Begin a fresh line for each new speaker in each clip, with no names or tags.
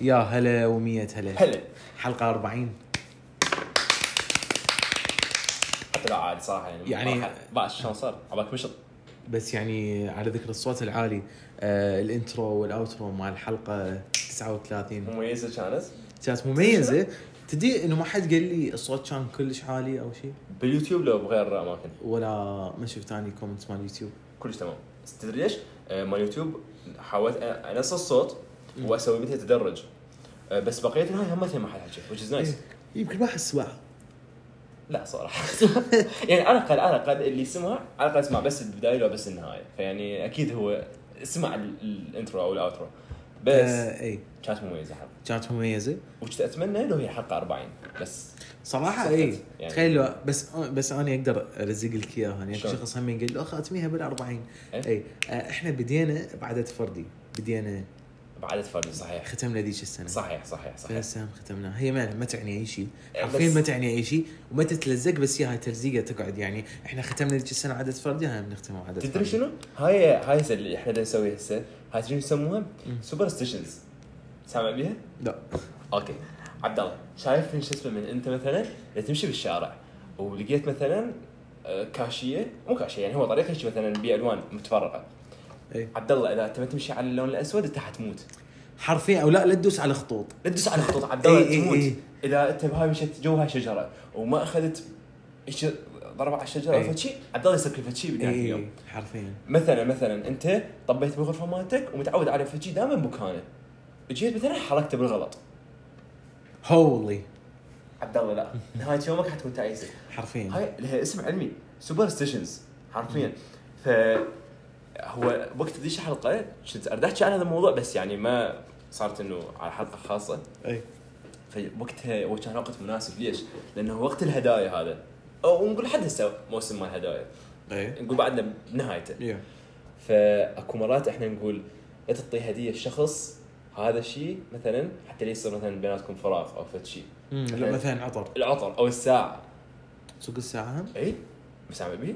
يا هلا ومية هلا
هلا
حلقة 40
حتى لا عادي صراحه يعني
يعني-
راحت. باش شلون صار عباك مشط
بس يعني على ذكر الصوت العالي آه الانترو والاوترو مال الحلقة 39
مميزه كانت
كانت مميزة تدري انه ما حد قال لي الصوت كان كلش عالي او شيء
باليوتيوب لو بغير اماكن
ولا ما شفت اني كومنت مال اليوتيوب
كلش تمام بس تدري ليش؟ آه، مال يوتيوب حاولت أ- انسى الصوت واسوي مثل تدرج آه، بس بقيه الهاي هم مثل ما حد حكى which is nice
إيه، يمكن ما حس واحد
لا صراحه يعني على الاقل على الاقل اللي سمع على الاقل سمع بس البدايه لو بس النهايه فيعني اكيد هو سمع ال- الانترو او الاوترو بس
آه اي
كانت مميزه حلقه
كانت مميزة
وكنت اتمنى لو هي حلقه 40 بس
صراحة
صدق.
اي
يعني-
تخيل لو بس بس انا اقدر ارزق لك اياها يعني
شلون؟
شخص هم قال لي اخ اتميها بال 40
إيه.
اي آه احنا بدينا بعدد فردي بدينا
بعدد فرد صحيح
ختمنا ذيك السنة
صحيح صحيح صحيح
فهسه هم ختمناها هي ما ما تعني اي شيء
إيه،
حرفيا
بس-
ما تعني اي شيء وما تتلزق بس ياها تلزيقه تقعد يعني احنا ختمنا ذيك السنه عدد فردي هاي بنختمها عدد
تدري
فردي.
شنو؟ هاي هاي هسه اللي احنا دا نسويها هسه هاي شنو يسموها؟
مم.
سوبر ستيشنز سامع بيها؟
لا
اوكي عبد الله شايف من شو اسمه من انت مثلا اذا تمشي بالشارع ولقيت مثلا آه، كاشيه مو كاشيه يعني هو طريق يمشي مثلا بالوان متفرقه
اي
عبد الله اذا انت ما تمشي على اللون الاسود انت حتموت
حرفيا او لا لا تدوس على خطوط
لا تدوس على خطوط عبد
إي إي
الله تموت
إي.
اذا انت بهاي مشيت جو هاي شجره وما اخذت ش- ضربه على الشجره
إي.
فشي عبد الله يصير كل شيء بنهايه اليوم
اي حرفيا
مثلا مثلا انت طبيت بالغرفه مالتك ومتعود على فشي دائما مكانه جيت مثلا حركته بالغلط
هولي
عبد الله لا نهايه يومك حتكون تعيسه
حرفيا
هاي لها اسم علمي سوبر ستيشنز حرفيا ف هو وقت ذيك الحلقه كنت اريد احكي عن هذا الموضوع بس يعني ما صارت انه على حلقه خاصه
اي
فوقتها هو كان وقت مناسب ليش؟ لانه وقت الهدايا هذا او نقول حد هسه موسم مال الهدايا
اي
نقول بعدنا بنهايته
يا
فاكو مرات احنا نقول لا تعطي هديه لشخص هذا الشيء مثلا حتى لا يصير مثلا بيناتكم فراغ او فد شيء
أمم، لا
إيه.
مثلا عطر
العطر او الساعه
سوق الساعه هم؟
اي بس عم بيه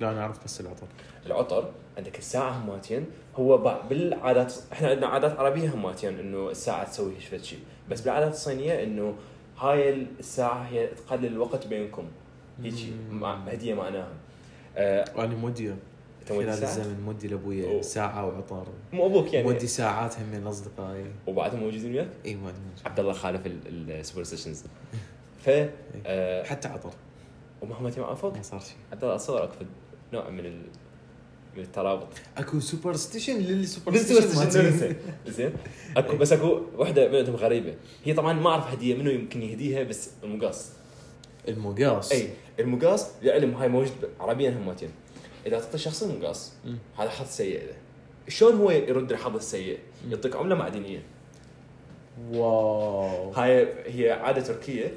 لا انا اعرف بس العطر
العطر عندك الساعه هماتين هو بع- بالعادات احنا عندنا عادات عربيه هماتين انه الساعه تسوي هيش فد شيء بس بالعادات الصينيه انه هاي الساعه هي تقلل الوقت بينكم هيجي
مم.
مع هديه معناها آه،
وانا مودي
أنت ودي
خلال
ساعة؟
الزمن مودي لابويا
أوه.
ساعه وعطر
مو ابوك يعني
مودي ساعات هم من إيه، اصدقائي
وبعدهم موجودين وياك
اي ما أدري.
عبد الله خالف السوبر ستيشنز ف آه،
حتى عطر
ومهما تم عفوك
ما صار شيء
عبد الله اصور اكو نوع من ال... من الترابط
اكو سوبر ستيشن للي سوبر
بالسوبر
ستيشن
ستيشن
مالتي.
ننسى. زين اكو بس اكو وحده منهم غريبه هي طبعا ما اعرف هديه منو يمكن يهديها بس المقاص
المقاص
اي المقاص للعلم هاي موجود عربيا همتين اذا تعطي شخص المقاص
مم.
هذا حظ سيء له شلون هو يرد الحظ السيء؟ يعطيك عمله معدنيه
واو
هاي هي عاده تركيه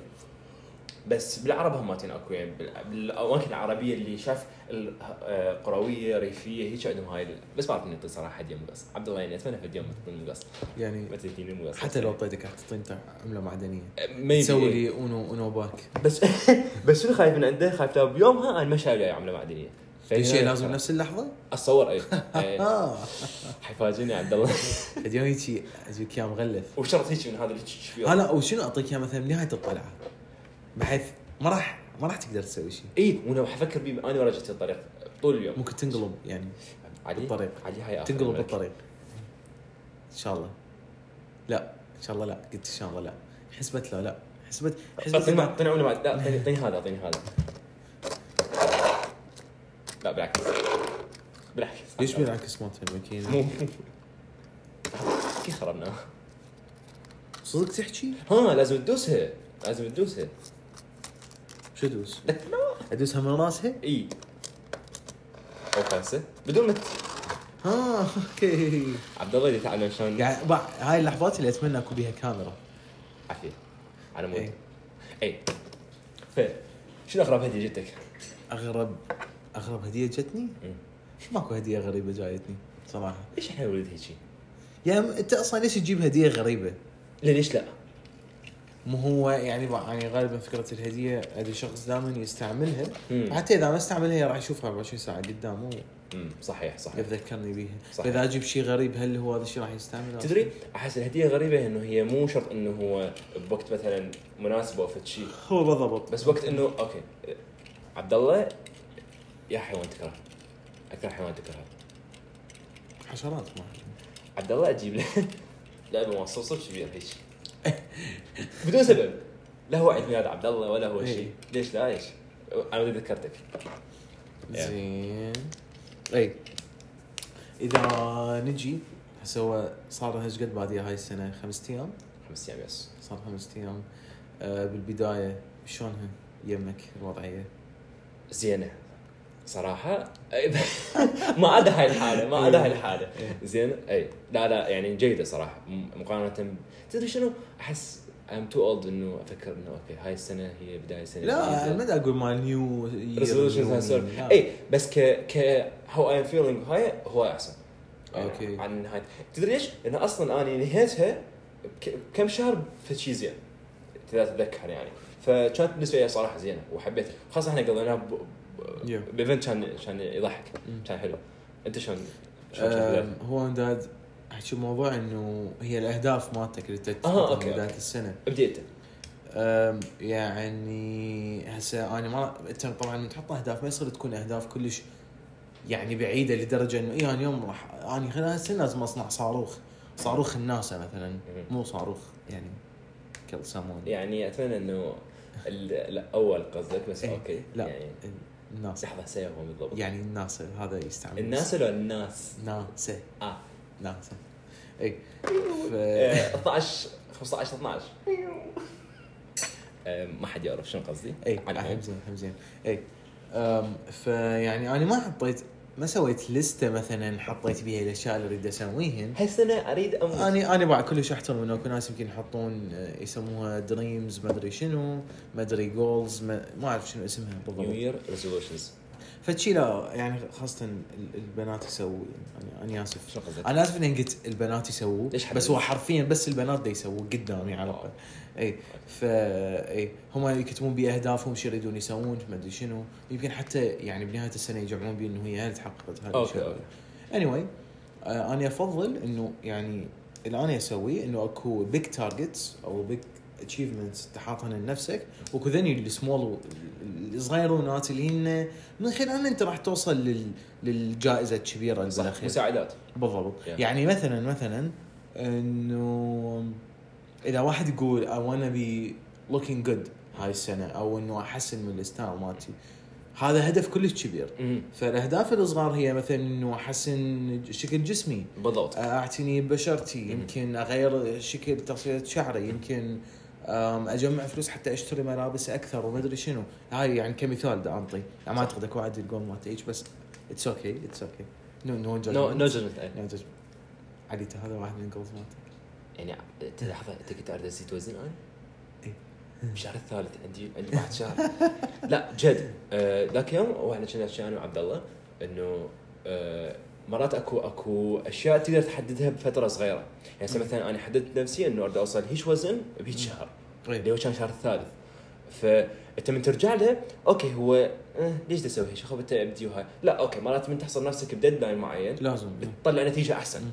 بس بالعرب هماتين اكو يعني بال- بالاماكن العربيه اللي شاف ال- آه، قرويه ريفيه هيك عندهم هاي ال- بس ما اعرف من يعطي صراحه هديه مقص عبد الله يعني اتمنى في اليوم ما تعطيني مقص ما
يعني
تديني مقص
حتى لو اعطيتك راح تعطيني انت عمله معدنيه
ما
تسوي لي اونو اونو باك
بس بس شنو خايف من عنده خايف لو بيومها انا ما شايف له عمله معدنيه
في شيء لازم نفس اللحظه؟
اتصور اي إي.
اه
إيه. حيفاجئني عبد الله
اليوم هيجي اجيك اياه مغلف
وشرط هيك من هذا اللي تشوف
اه
فيه
لا وشنو اعطيك اياه مثلا بنهايه الطلعه بحيث ما راح ما راح تقدر تسوي شيء
اي وانا إيه. حفكر بيه انا ورجعت الطريق طول اليوم
ممكن تنقلب يعني
علي
بالطريق.
علي هاي آخر
تنقلب
الملك.
بالطريق ان شاء الله لا ان شاء الله لا قلت ان شاء الله لا حسبت لا لا حسبت حسبت
اعطيني
لا.
اعطيني عمله بعد لا اعطيني اعطيني هذا اعطيني هذا لا بالعكس طيب، بالعكس
ليش بينعكس يعني؟ مالت الماكينه؟
مو كيف خربناها؟
صدق تحكي؟
ها لازم تدوسها لازم تدوسها
شو ادوس؟
لك لا
ادوسها من راسها؟
اي او خمسه بدون ما ت- آه،
ها اوكي
عبد الله يتعلم شلون
قاعد بع- هاي اللحظات اللي اتمنى اكون بيها كاميرا
عافيه على
إي.
مود اي ف شنو اغرب هديه جتك؟
اغرب اغرب هديه جتني؟
مم.
ماكو هديه غريبه جايتني صراحه
ليش احنا ولد هيجي؟
يعني انت اصلا ليش تجيب هديه غريبه؟
لا ليش لا؟
مو هو يعني بع- يعني غالبا فكره الهديه هذا الشخص دائما يستعملها
مم.
حتى اذا ما استعملها راح يشوفها 24 ساعه قدامه
امم صحيح صحيح
يتذكرني بيها
صح.
فاذا اجيب شيء غريب هل هو هذا الشيء راح يستعمله
تدري احس الهديه غريبه انه هي مو شرط انه هو بوقت مثلا مناسبه او فد شيء
هو بالضبط
بس وقت انه اوكي عبد الله يا حيوان تكره اكثر حيوان تكرهه
حشرات ما
عبد الله اجيب له لعبه مصوصه كبير هيك بدون سبب لا هو عيد ميلاد عبد الله ولا هو
إيه.
شيء ليش لا ايش انا بدي ذكرتك Yeah.
زين اي اذا نجي هسه هو صار لها قد باديه هاي السنه خمس ايام
خمس ايام بس
صار خمس ايام آه بالبدايه شلونها يمك الوضعيه؟
زينه صراحه ما عدا هاي الحاله ما عدا هاي الحاله زين اي لا لا يعني جيده صراحه م- مقارنه ب- تدري شنو احس ام تو اولد انه افكر انه اوكي هاي السنه هي بدايه سنه
لا ما
جديدة.
دا اقول مال نيو
إيه، resolutions and stuff. اي إيه، بس ك ك how I'm feeling هاي هو احسن
أوكي.
عن نهاية تدري ليش؟ لان اصلا انا نهيتها بك- بكم شهر في شيء زين اذا تتذكر يعني فكانت بالنسبه لي صراحه زينه وحبيتها خاصه احنا قضيناها ب- ب-
Yeah.
بايفنت كان كان يضحك
مم.
كان حلو انت شلون شلون شفت
آه هو انداد احكي موضوع انه هي الاهداف مالتك اللي تت-
آه، أوكي،
بدايه
أوكي.
السنه
ابدي انت
أم، يعني هسه انا ما انت طبعا من تحط اهداف ما يصير تكون اهداف كلش يعني بعيده لدرجه انه اي انا اليوم إيه، راح انا خلال هالسنه لازم اصنع صاروخ صاروخ الناسا مثلا مو صاروخ يعني كل يسمونه
يعني اتمنى انه ال- الاول قصدك بس
إيه.
اوكي
لا.
يعني
الناسا
لحظه سيفهم بالضبط
يعني الناسا هذا يستعمل
الناس ولا الناس؟
ناسا
اه
ناسا اي ف...
12 15 12 آه، ما حد يعرف شنو قصدي
اي
عن
آه، حمزين حمزين اي أم، فيعني انا ما حطيت ما سويت لسته مثلا حطيت بيها الاشياء اللي اريد اسويهن
هالسنه اريد اموت
انا انا بعد كلش احترم انه اكو ناس يمكن يحطون آه، يسموها دريمز ما ادري شنو ما ادري جولز ما ما اعرف شنو اسمها
نيو
بالضبط
يير ريزولوشنز
فشي لا يعني خاصه ال- البنات يعني يسووا انا انا اسف
شنو قصدك؟
انا اسف اني قلت البنات يسووه
ليش حبيبي؟
بس هو حرفيا بس البنات دا يسووه قدامي على الاقل اي ف اي هم يكتبون بي اهدافهم شو يريدون يسوون ما ادري شنو يمكن حتى يعني بنهايه السنه يجمعون بي انه هي هل تحققت هذا
اوكي
الشيء
اوكي
اني anyway, آه انا افضل انه يعني اللي انا اسويه انه اكو بيج تارجتس او بيج اتشيفمنتس تحاطها لنفسك واكو ذني السمول الصغيرونات اللي هن من خلال انت راح توصل لل... للجائزه الكبيره اللي
صح
بالأخير.
مساعدات
بالضبط
Yeah.
يعني مثلا مثلا انه اذا واحد يقول I wanna be looking good هاي السنه او انه احسن من الستايل مالتي هذا هدف كلش كبير
أمم،
فالاهداف الصغار هي مثلا انه احسن شكل جسمي
بالضبط
اعتني ببشرتي
مم.
يمكن اغير شكل تصفيه شعري يمكن أم، اجمع فلوس حتى اشتري ملابس اكثر وما ادري شنو هاي يعني كمثال دا انطي يعني ما اعتقد اكو واحد يقول ما تعيش بس اتس اوكي اتس اوكي نو نو
نو نو جادجمنت
يعني جزم. علي انت هذا واحد من جولز مالتك
يعني أنت لحظه انت كنت اريد ازيد وزن انا؟
إيه.
الشهر الثالث عندي عندي واحد شهر لا جد آه، ذاك يوم واحنا كنا نحكي انا وعبد الله انه آه، مرات اكو اكو اشياء تقدر تحددها بفتره صغيره يعني هسه مثلا انا حددت نفسي انه اريد اوصل هيك وزن بهيك شهر اللي هو كان شهر الثالث فانت من ترجع له اوكي هو أه ليش بدي اسوي هيك خب ابدي وهاي لا اوكي مرات من تحصل نفسك بديدلاين معين
لازم إيه.
بتطلع نتيجه احسن
مم.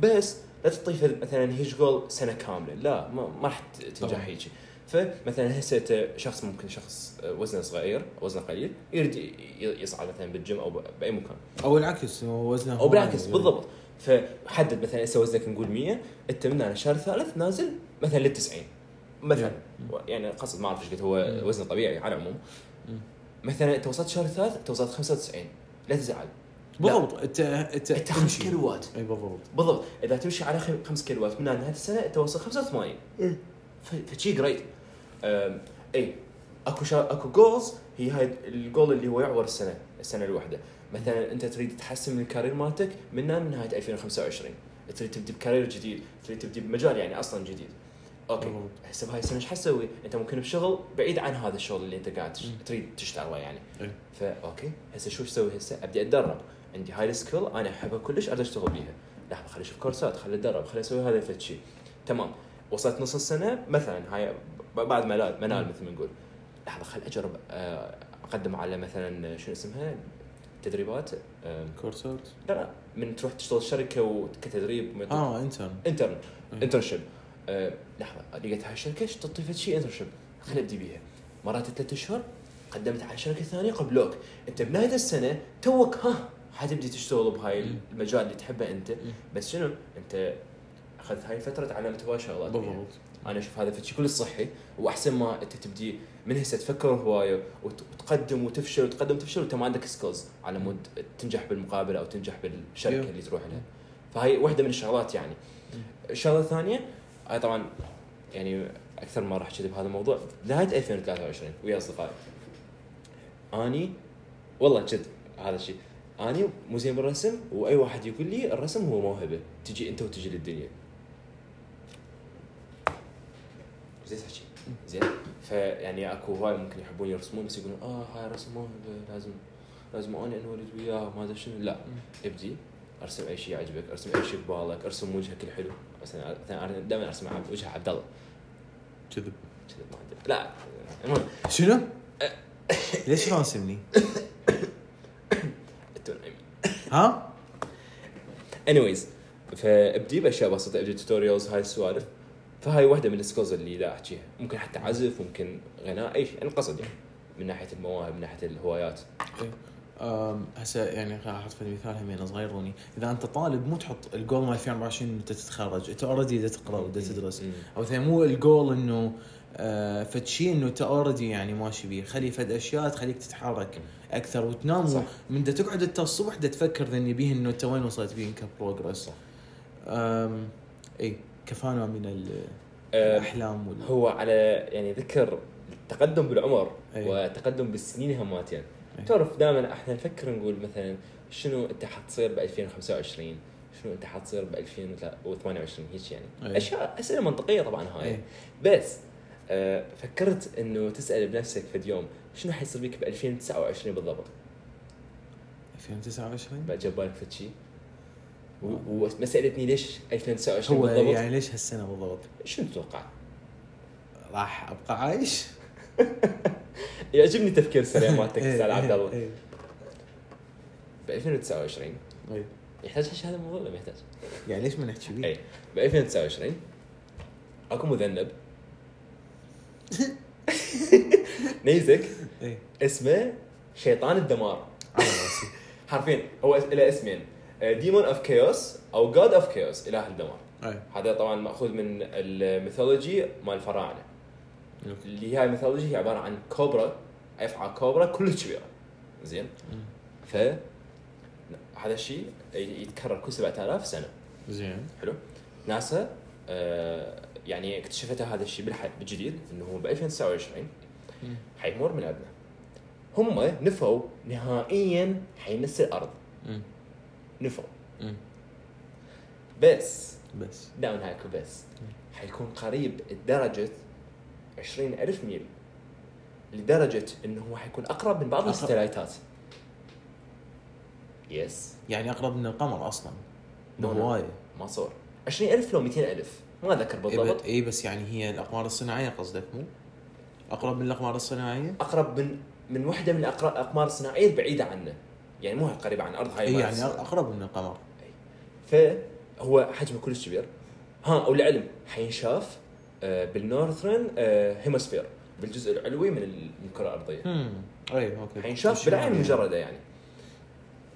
بس لا تطيح مثلا هيج جول سنه كامله لا ما, ما راح ت- تنجح
طبعاً.
هيجي فمثلا هسه أنت شخص ممكن شخص وزنه صغير وزنه قليل يريد ي- يصعد مثلا بالجيم او ب- باي مكان
او العكس هو وزنه
او بالعكس بالضبط فحدد مثلا هسه وزنك نقول 100 انت من هنا شهر ثالث نازل مثلا لل 90 مثلا
إيه.
يعني قصد ما اعرف ايش قد هو
مم.
وزنه طبيعي على العموم
مم.
مثلا انت وصلت شهر ثالث انت وصلت 95 لا تزعل
بالضبط انت انت
انت 5
تمشي.
كيلوات
اي بالضبط
بالضبط اذا تمشي على 5 كيلوات من نهايه السنه انت وصل 85 ف- فشي جريت أم، اي اكو شا... اكو جولز هي هاي الجول اللي هو يعور السنه السنه الواحده مثلا انت تريد تحسن من الكارير مالتك من هنا لنهايه 2025 تريد تبدي بكارير جديد تريد تبدي بمجال يعني اصلا جديد اوكي
بالضبط.
هسه بهاي السنه ايش حتسوي؟ انت ممكن بشغل بعيد عن هذا الشغل اللي انت قاعد تش-
مم.
تريد تشتغله يعني
إيه.
فا اوكي هسه شو اسوي هسه؟ ابدي اتدرب عندي هاي السكيل انا احبها كلش اريد اشتغل بيها لحظه خليني اشوف كورسات خليني اتدرب خليني اسوي هذا الفد شيء تمام وصلت نص السنه مثلا هاي ب- بعد ملال منال مثل ما نقول لحظه خل اجرب آه، اقدم على مثلا شنو اسمها تدريبات آم،
كورسات
لا لا من تروح تشتغل شركه وكتدريب من-
اه انترن
انترن
إيه.
انترنشيب آه، لحظه لقيت هاي الشركه ايش تعطي فد شيء انترنشيب خليني ابدي بيها مرات ثلاث اشهر قدمت على شركه ثانيه قبلوك انت بنهايه السنه توك ها حتبدي تشتغل بهاي
مم.
المجال اللي تحبه انت
مم.
بس شنو انت اخذت هاي الفتره تعلمت بها شغلات فيها.
بالضبط
انا اشوف هذا فد شيء كلش صحي واحسن ما انت تبدي من هسه تفكر هوايه وت- وتقدم وتفشل وتقدم وتفشل وانت ما عندك سكيلز على مود تنجح بالمقابله او تنجح بالشركه
Yeah.
اللي تروح لها فهي واحده من الشغلات يعني الشغله الثانيه هاي طبعا يعني اكثر ما راح احكي بهذا الموضوع نهايه 2023 ويا اصدقائي اني والله جد هذا الشيء اني مو زين بالرسم واي واحد يقول لي الرسم هو موهبه تجي انت وتجي للدنيا زين تحكي زين فيعني اكو هواي ممكن يحبون يرسمون بس يقولون اه هاي رسم موهبه لازم لازم اني انولد وياه ما ادري شنو لا ابدي ارسم اي شيء يعجبك ارسم اي شيء ببالك ارسم وجهك الحلو مثلا مثلاً انا دائما ارسم عبد- وجه عبد الله
كذب
كذا ما ادري لا المهم
شنو؟ ليش راسمني؟ ها؟
انيويز فابدي باشياء بسيطه ابدي توتوريالز هاي السوالف فهاي واحده من السكولز اللي دا احكيها ممكن حتى عزف ممكن غناء اي شيء انا قصد يعني من ناحيه المواهب من ناحيه الهوايات
أم، هسه يعني راح احط في مثال همين صغيروني اذا انت طالب مو تحط الجول مال 2024 انت تتخرج انت اوريدي دا تقرا ودا
إيه.
تدرس
مم.
او مثلا مو الجول انه آه، فد شيء انه انت اوريدي يعني ماشي بيه خلي فد اشياء تخليك تتحرك اكثر وتنام
صح.
صح. من دا تقعد انت الصبح دا تفكر ذني بيه انه انت وين وصلت بيه كبروجرس
صح.
أم، اي كفانا من ال-
أه،
الاحلام وال...
هو على يعني ذكر التقدم بالعمر
أي.
وتقدم بالسنين هماتين
أي.
تعرف دائما احنا نفكر نقول مثلا شنو انت حتصير ب 2025 شنو انت حتصير ب 2028 هيك يعني
أي.
اشياء اسئله منطقيه طبعا هاي
أي.
بس آه فكرت انه تسال بنفسك في اليوم شنو حيصير بك ب 2029 بالضبط
2029
بعد جاب بالك فد شيء و- وما سالتني ليش 2029
هو
بالضبط
يعني ليش هالسنه بالضبط؟
شنو تتوقع؟
راح ابقى عايش؟
يعجبني تفكير سريع مالتك
إيه،
استاذ عبد الله
إيه،
ب 2029
إيه.
يحتاج حش هذا الموضوع ولا ما يحتاج؟
يعني ليش ما نحكي
اي
بيه؟
ب 2029 اكو مذنب نيزك
اي
اسمه شيطان الدمار
على راسي
حرفيا هو اس- له اسمين آه، ديمون اوف كيوس او جاد اوف كيوس اله الدمار
إيه.
هذا طبعا ماخوذ من الميثولوجي مال الفراعنه اللي هي الميثولوجي هي عباره عن كوبرا افعى كوبرا كلش كبيره زين
مم.
ف هذا الشيء يتكرر كل 7000 سنه
زين
حلو ناسا آه يعني اكتشفت هذا الشيء بالح- بالجديد انه ب 2029
مم.
حيمر من عندنا هم نفوا نهائيا حينسي الارض
مم.
نفوا
مم.
بس
بس
داون هاكو بس حيكون قريب لدرجة 20 ألف ميل لدرجة انه هو حيكون اقرب من بعض
أقرب.
الستلايتات يس
يعني اقرب من القمر اصلا
نو، نو.
بهوايه
ما صور 20 ألف لو 200 ألف ما اذكر بالضبط
اي بس يعني هي الاقمار الصناعيه قصدك مو؟ اقرب من الاقمار الصناعيه؟
اقرب من من واحده من الأقر- الاقمار الصناعيه البعيده عنا يعني مو قريبه عن الارض هاي
اي
مال
يعني
الصناعة.
اقرب من القمر
فهو حجمه كلش كبير ها وللعلم حينشاف آه، بالنورثرن آه، هيموسفير بالجزء العلوي من ال- من الكره الارضيه
امم اي اوكي
حينشاف بالعين المجرده يعني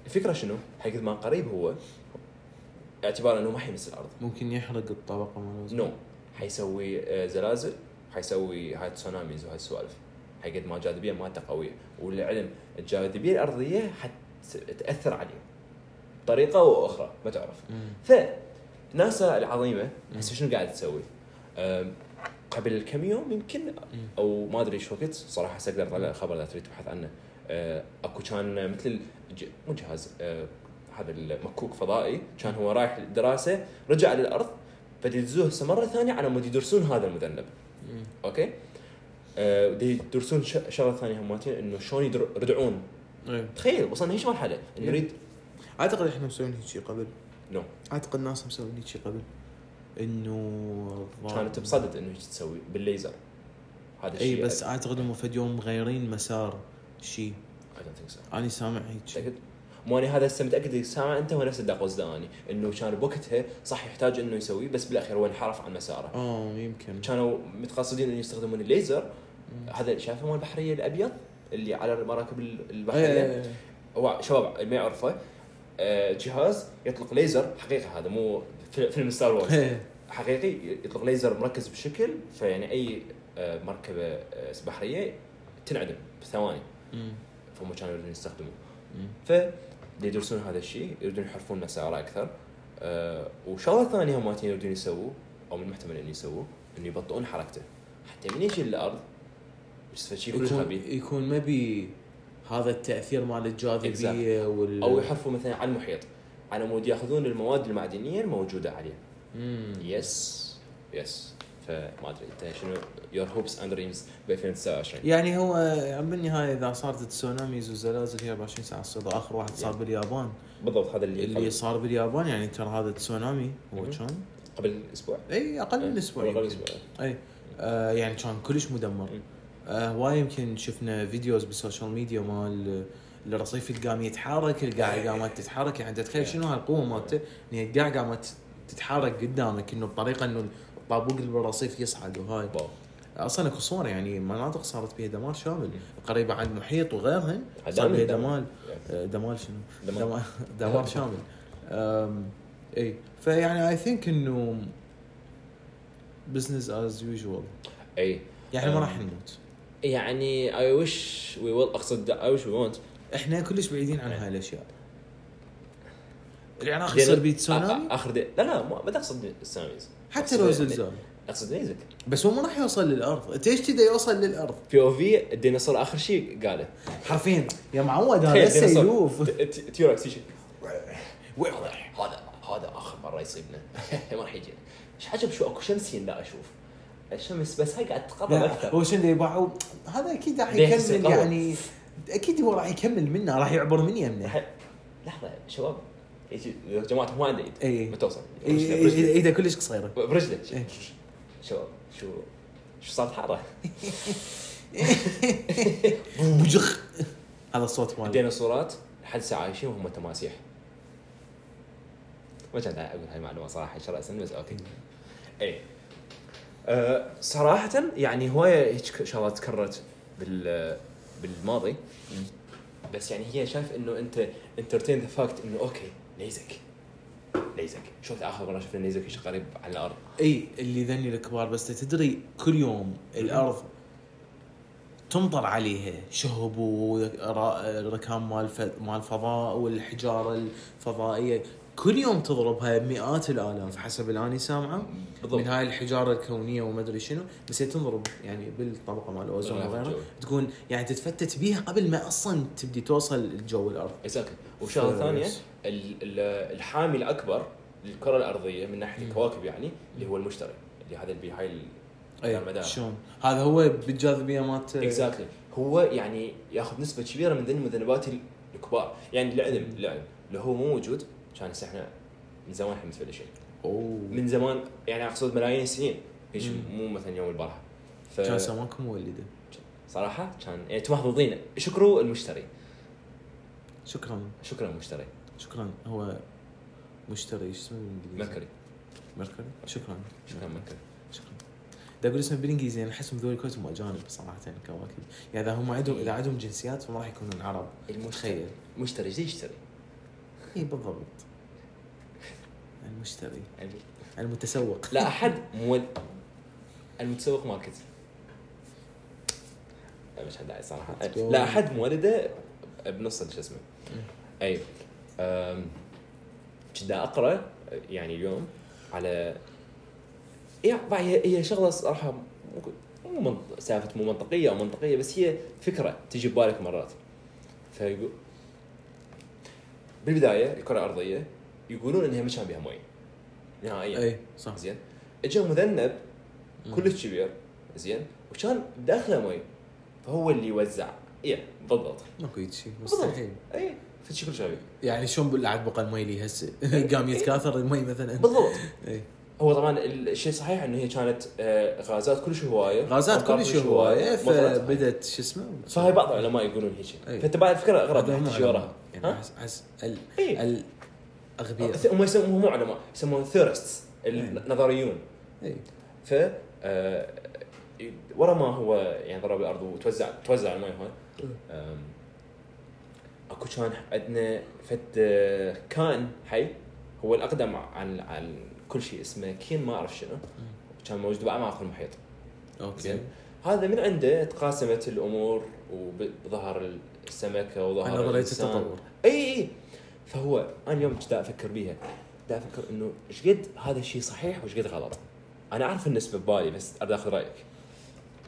الفكره شنو؟ حق ما قريب هو اعتبارا انه ما حيمس الارض
ممكن يحرق الطبقه مالوز
نو حيسوي آه، زلازل حيسوي هاي تسوناميز وهاي السوالف حق ما الجاذبيه مالته قويه وللعلم الجاذبيه الارضيه حتاثر عليه بطريقه او اخرى ما تعرف
مم.
ف ناسا العظيمه هسه شنو قاعد تسوي؟ آم، قبل كم يوم يمكن
مم.
او ما ادري ايش وقت صراحه هسه اقدر اطلع الخبر اذا تريد تبحث عنه آه، اكو كان مثل الج- مو جهاز آه، هذا المكوك فضائي كان هو رايح للدراسه رجع للارض فدزوه هسه مره ثانيه على مود يدرسون هذا المذنب
مم.
اوكي آه، بدي يدرسون ش- شغله ثانيه هماتين انه شلون يدر- يردعون
إيه.
تخيل وصلنا هيش مرحله إنه نريد
اعتقد احنا مسويين هيك قبل
نو
اعتقد ناس مسويين هيك قبل انه
كانت بصدد انه ايش تسوي بالليزر هذا الشيء
اي بس اعتقد هم فد يوم مغيرين مسار شيء
I don't think so.
انا سامع هيك
متاكد؟ مو انا هذا هسه متاكد سامع انت هو نفس اللي قصده اني انه كان بوقتها صح يحتاج انه يسويه بس بالاخير هو انحرف عن مساره
اه يمكن
كانوا متقصدين انه يستخدمون الليزر
مم.
هذا شايفه مال البحريه الابيض اللي على المراكب ال-
إيه،
البحريه
إيه، إيه.
هو شباب اللي ما يعرفه آه، جهاز يطلق ليزر حقيقه هذا مو في- فيلم ستار وورز
إيه.
حقيقي يطلق ليزر مركز بشكل فيعني اي آه، مركبه آه، بحريه تنعدم بثواني
مم.
فهم كانوا يريدون يستخدموه
مم.
فيدرسون هذا الشيء يريدون يحرفون مساره اكثر آه، وشغله ثانيه هم مالتين يريدون يسووه او من المحتمل انه يسووه انه يبطئون حركته حتى من يجي للارض فشيء كلش
يكون
غبي
يكون ما بي هذا التاثير مال الجاذبيه وال
او يحرفوا مثلا على المحيط على مود ياخذون المواد المعدنيه الموجوده عليه
مم.
يس يس فما ادري انت شنو يور هوبس اند دريمز ب 2029
يعني هو بالنهايه اذا صارت التسوناميز والزلازل هي 24 ساعه صدى اخر واحد صار باليابان
بالضبط هذا اللي,
اللي
اللي
صار باليابان يعني ترى هذا تسونامي هو
مم. إيه.
كان
قبل اسبوع
اي اقل من اسبوع
قبل
يمكن.
اسبوع
اي آه يعني كان كلش مدمر
مم.
آه هواي يمكن شفنا فيديوز بالسوشيال ميديا مال الرصيف اللي قام يتحرك
إيه.
القاع قامت تتحرك يعني أنت تتخيل شنو هالقوه مالته ان القاع قامت تتحرك قدامك انه بطريقه انه الطابوق اللي بالرصيف يصعد وهاي
واو
اصلا اكو صور يعني مناطق صارت فيها دمار شامل
مم.
قريبه عن المحيط وغيرهن
عدم
صار فيها
الدمار.
دمار
يعني
آه، دمار شنو؟
دمار.
دمار, دمار شامل أم، اي فيعني اي ثينك انه بزنس از يوجوال
اي
يعني ما
أم.
راح نموت
إيه. يعني اي ويش وي ويل اقصد اي ويش وي وونت
احنا كلش بعيدين عن هاي الاشياء العراق
لأن-
يصير بيه تسونامي
اخر آه، دي. لا لا ما ما تقصد السوناميز
حتى لو زلزال
اقصد نيزك
بس هو ما راح يوصل للارض انت ايش كذا يوصل للارض
بي او في الديناصور اخر شيء قاله
حرفيا يا معود هذا
تخيل
هسه
ديناصور.
يلوف
ت- ت- تيوراكس يجي هذا هذا اخر مره يصيبنا ما راح يجينا ايش عجب شو اكو شمسين لا اشوف الشمس بس هاي قاعد تتقرب
لا،
اكثر
هو شنو يباعوا هذا اكيد راح
ليه هسه
يكمل
قوي؟
يعني اكيد هو راح يكمل منا راح يعبر من يمنا
راح- لحظه شباب يجي جماعه مو عنده ايد
اي
ما توصل
إي-
برجله- برجله.
إي- ايده كلش قصيره
برجله
إيه.
شباب شو شو صارت حاره
بوجخ هذا الصوت ماله
الديناصورات لحد ساعه عايشين وهم تماسيح ما كنت اقول هاي المعلومه صراحه راسا بس اوكي اي أه صراحه يعني هوايه هيك شغلات تكررت بال بالماضي بس يعني هي شايف انه انت انترتين ذا فاكت انه اوكي ليزك ليزك شفت اخر مره شفنا ليزك ايش قريب على الارض
اي اللي ذني الكبار بس تدري كل يوم الارض تمطر عليها شهب وركام مال ف- مال الفضاء والحجاره الفضائيه كل يوم تضربها مئات الالاف حسب اللي اني سامعه من هاي الحجاره الكونيه وما ادري شنو بس هي تنضرب يعني بالطبقه مال الاوزون
الغلاف
وغيره
الجوي.
تكون يعني تتفتت بيها قبل ما اصلا تبدي توصل الجو الارض
اكزاكتلي وشغله ثانيه
Yes.
ال- ال- الحامي الاكبر للكره الارضيه من ناحيه الكواكب يعني اللي هو المشتري اللي هذا اللي بهاي ال-
اي
المدار.
إيه، شلون هذا هو بالجاذبيه مالت آه،
اكزاكتلي هو يعني ياخذ نسبه كبيره من ذي المذنبات ال- الكبار يعني العلم العلم لو هو مو موجود كان هسه احنا من زمان احنا متفلشين
اوه
من زمان يعني اقصد ملايين السنين هيش
مم.
مو مثلا يوم البارحه ف-
كان سماكم مولده
صراحه كان يعني انتم محظوظين شكروا المشتري
شكرا
شكرا المشتري
شكرا هو مشتري ايش اسمه بالانجليزي؟
مركري
مركري شكرا
شكرا مركري
شكرا دا اقول اسمه بالانجليزي انا احسهم ذول كلهم اجانب صراحه كواكب يعني اذا هم عندهم اذا عندهم جنسيات فما راح يكونون عرب
إيه. المشتري
تخيل
مشتري ايش يشتري؟
اي بالضبط المشتري المتسوق
لا احد مول المتسوق ماركت لا، مش حد صراحه
Let's go.
لا احد مولده بنص شو اسمه اي أم، كنت اقرا يعني اليوم على يعني هي هي شغله صراحه مو- مو منط- سالفه مو منطقيه او منطقيه بس هي فكره تجي ببالك مرات فيقول بالبدايه الكره الارضيه يقولون انها ما كان بها مي نهائيا
اي صح
زين اجى مذنب
مم.
كلش كبير زين وكان بداخله مي فهو اللي يوزع اي بالضبط إيه،
ماكو هيك شيء مستحيل
اي فشكل شبي
يعني شلون بالعب بقى المي اللي هسه قام يتكاثر المي إيه. مثلا
إيه. بالضبط
اي
هو طبعا الشيء صحيح انه هي كانت آه، غازات كلش هوايه
غازات
أمطار
كلش هوايه
مطرت.
فبدت شو اسمه
فهاي بعض العلماء يقولون هيك
إي.
فانت بعد الفكره غلط
إيه. هذا هم
تجي وراها
يعني
ها؟
احس احس ال-
إيه. أه،
الاغبياء
هم يسمون مو علماء يسمون ثيرستس
إيه.
النظريون
اي
ف آه، ورا ما هو يعني ضرب الارض وتوزع توزع الماء هون
إيه.
آم، اكو كان عندنا فد آه، كان حي هو الاقدم عن عن كل شيء اسمه كين ما اعرف شنو
إيه.
كان موجود باعماق المحيط
اوكي
زين هذا من عنده تقاسمت الامور وظهر السمكه وظهر
عن نظريه
الإنسان.
التطور
اي اي فهو انا اليوم دا افكر بيها دا افكر انه ايش قد هذا الشيء صحيح وايش قد غلط انا اعرف النسبه ببالي بس اريد اخذ رايك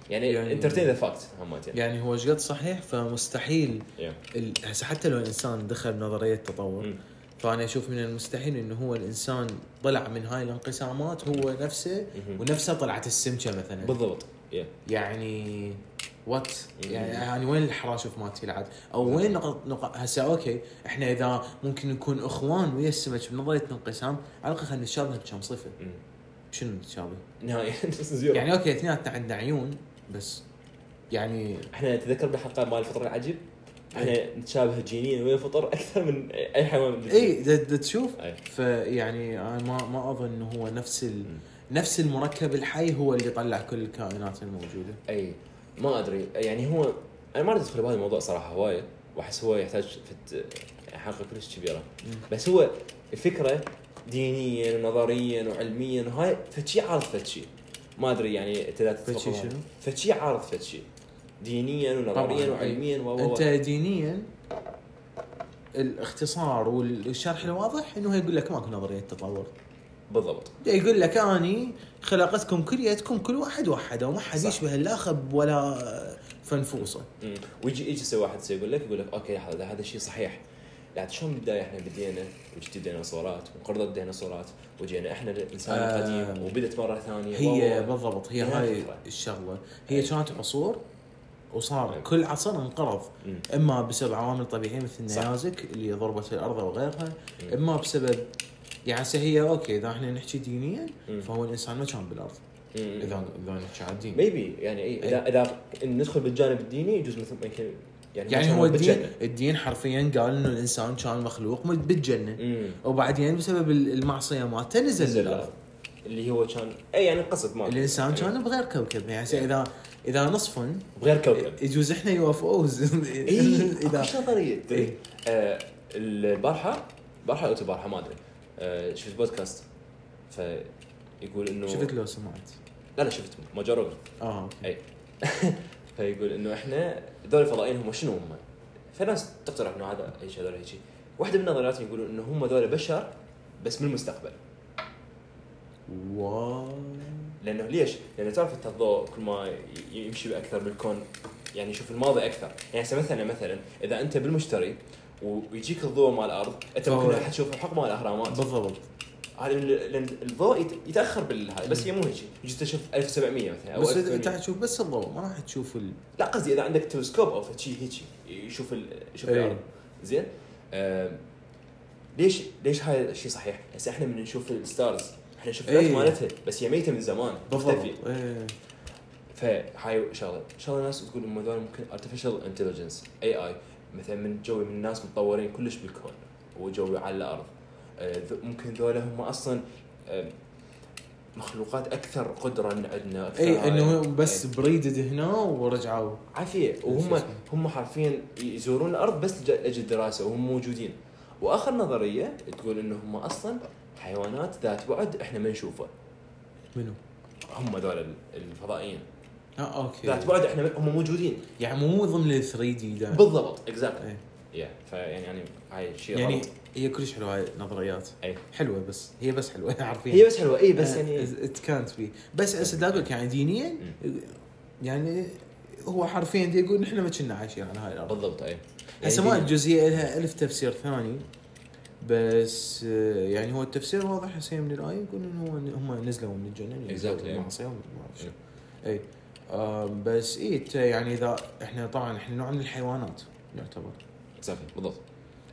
يعني,
يعني-
يعني انترتين ذا فاكت همتين
يعني هو ايش قد صحيح فمستحيل
يعني.
ال- هسه حتى لو الانسان دخل نظريه التطور
مم.
فانا اشوف من المستحيل انه هو الانسان طلع من هاي الانقسامات هو نفسه
مهم.
ونفسه طلعت السمكه مثلا
بالضبط yeah.
يعني وات
مم.
يعني, يعني وين الحراشف مالتي العاد او وين نقط نقط هسه اوكي احنا اذا ممكن نكون اخوان ويا السمك بنظريه الانقسام على الاقل خلينا نتشابه بكم صفه
مم.
شنو نتشابه؟
نهائيا زيرو يعني
يعني اوكي اثنيناتنا عندنا عيون بس يعني
احنا نتذكر بالحلقه مال الفطر العجيب احنا نتشابه جينيا ويا الفطر اكثر من اي حيوان بالجنس.
اي دا- دا إيه، تشوف
أي.
فيعني أنا ما ما اظن انه هو نفس ال...
مم.
نفس المركب الحي هو اللي طلع كل الكائنات الموجوده
اي ما ادري يعني هو انا ما اريد ادخل بهذا الموضوع صراحه هوايه واحس هو يحتاج فت... حلقه كلش كبيره بس هو الفكره دينيا ونظريا وعلميا وهاي فتشي عارض فتشي ما ادري يعني انت لا تتفق
فتشي
معي.
شنو؟
فتشي عارض فتشي دينيا
طبعاً،
ونظريا
أي.
وعلميا و و- و
انت دينيا الاختصار والشرح الواضح انه هو يقول لك ماكو نظريه تطور
بالضبط
يقول لك اني خلقتكم كليتكم كل واحد وحده وما حد
صح.
يشبه لا خب ولا فنفوسه
مم. ويجي يجي يسوي واحد يسوي يقول لك يقول لك اوكي هذا هذا الشيء صحيح لا شلون بالبدايه احنا بدينا وجت الديناصورات وانقرضت الديناصورات وجينا احنا الانسان
آه.
القديم وبدت مره ثانيه
هي
و- و-
بالضبط هي
هي
هاي
الفكرة.
الشغله هي
أي.
كانت عصور وصار
أي.
كل عصر انقرض
مم.
اما بسبب عوامل طبيعيه مثل
صح.
النيازك اللي ضربت الارض وغيرها
مم.
اما بسبب يعني هسه هي اوكي اذا احنا نحكي دينيا
مم.
فهو الانسان ما كان بالارض اذا اذا نحكي على الدين
ميبي يعني اي
إيه.
اذا اذا ندخل بالجانب الديني يجوز مثل يمكن يعني
يعني
مثلاً
هو الدين
بالجنة.
الدين حرفيا قال انه الانسان كان مخلوق من- بالجنه
مم.
وبعدين بسبب ال- المعصيه مالته نزل الارض
اللي هو كان اي يعني القصد ماله
الانسان
يعني
كان بغير كوكب يعني هسه اذا اذا نصفن
بغير كوكب إيه،
يجوز احنا يو اف اوز
اي اذا
اذا
نظريه
إي.
تدري آه، البارحه البارحه او البارحه ما ادري آه، شفت بودكاست فيقول انه
شفت لو سمعت
لا لا شفت ماجر روبن
اه اوكي
اي فيقول انه احنا هذول الفضائيين هم شنو هم؟ فناس تقترح انه هذا هيك هذول هيك واحده من نظرياتهم يقولون انه هم هذول بشر بس من المستقبل
واو
لانه ليش؟ لانه تعرف انت الضوء كل ما ي- يمشي باكثر بالكون يعني يشوف الماضي اكثر، يعني هسه مثلا مثلا اذا انت بالمشتري و- ويجيك الضوء مال الارض انت
فهو-
ممكن تشوف الحق مال الاهرامات
بالضبط
هذا ال- لان الضوء يت- يتاخر بالهذا بس هي مو هيك يجي تشوف 1700 مثلا او
بس إذا انت
1800
حتشوف بس الضوء ما راح تشوف ال...
لا قصدي اذا عندك تلسكوب او شيء هيك يشوف ال... يشوف
إيه.
الارض زين آم، ليش ليش هاي الشيء صحيح؟ هسه احنا من نشوف الستارز احنا نشوف
إيه.
الأرض مالتها بس هي ميته من زمان مختفيه
بالضبط إيه.
فهاي شغله شغله الناس تقول هم هذول ممكن ارتفيشال انتليجنس اي اي مثلا من جوي من الناس متطورين كلش بالكون وجوي على الارض آه، ذ- ممكن ذولا هم اصلا آه، مخلوقات اكثر قدره من عندنا أكثر
اي انه
هاي.
هم إيه، بس
إي.
بريدد هنا ورجعوا
عافيه
شو
وهم
اسمه؟
هم حرفيا يزورون الارض بس لج- لاجل الدراسه وهم موجودين واخر نظريه تقول انه هم اصلا حيوانات ذات بعد احنا ما نشوفه
منو؟
هم ذول الفضائيين
اه اوكي
ذات بعد احنا ما- هم موجودين
يعني مو ضمن ال 3 دي ده
بالضبط اكزاكتلي
إيه.
يا فيعني يعني هاي شيء
يعني
غلط. إيه.
هي كلش حلوه هاي النظريات
أي.
حلوه بس هي بس حلوه عارفين آه،
هي بس حلوه اي بس يعني
ات كانت بي بس هسه اقول لك يعني دينيا يعني هو حرفيا دي يقول نحن ما كنا عايشين على هاي الارض
بالضبط إيه. يعني اي
هسه ما الجزئيه يعني لها الف تفسير ثاني بس آه، يعني هو التفسير واضح هسه من الايه يقول انه هو هم نزلوا من الجنه يعني
Exactly.
نزلوا من المعصيه ومن ما اعرف شو اي آه، بس اي ت- يعني اذا احنا طبعا احنا نوع من الحيوانات يعتبر
صافي بالضبط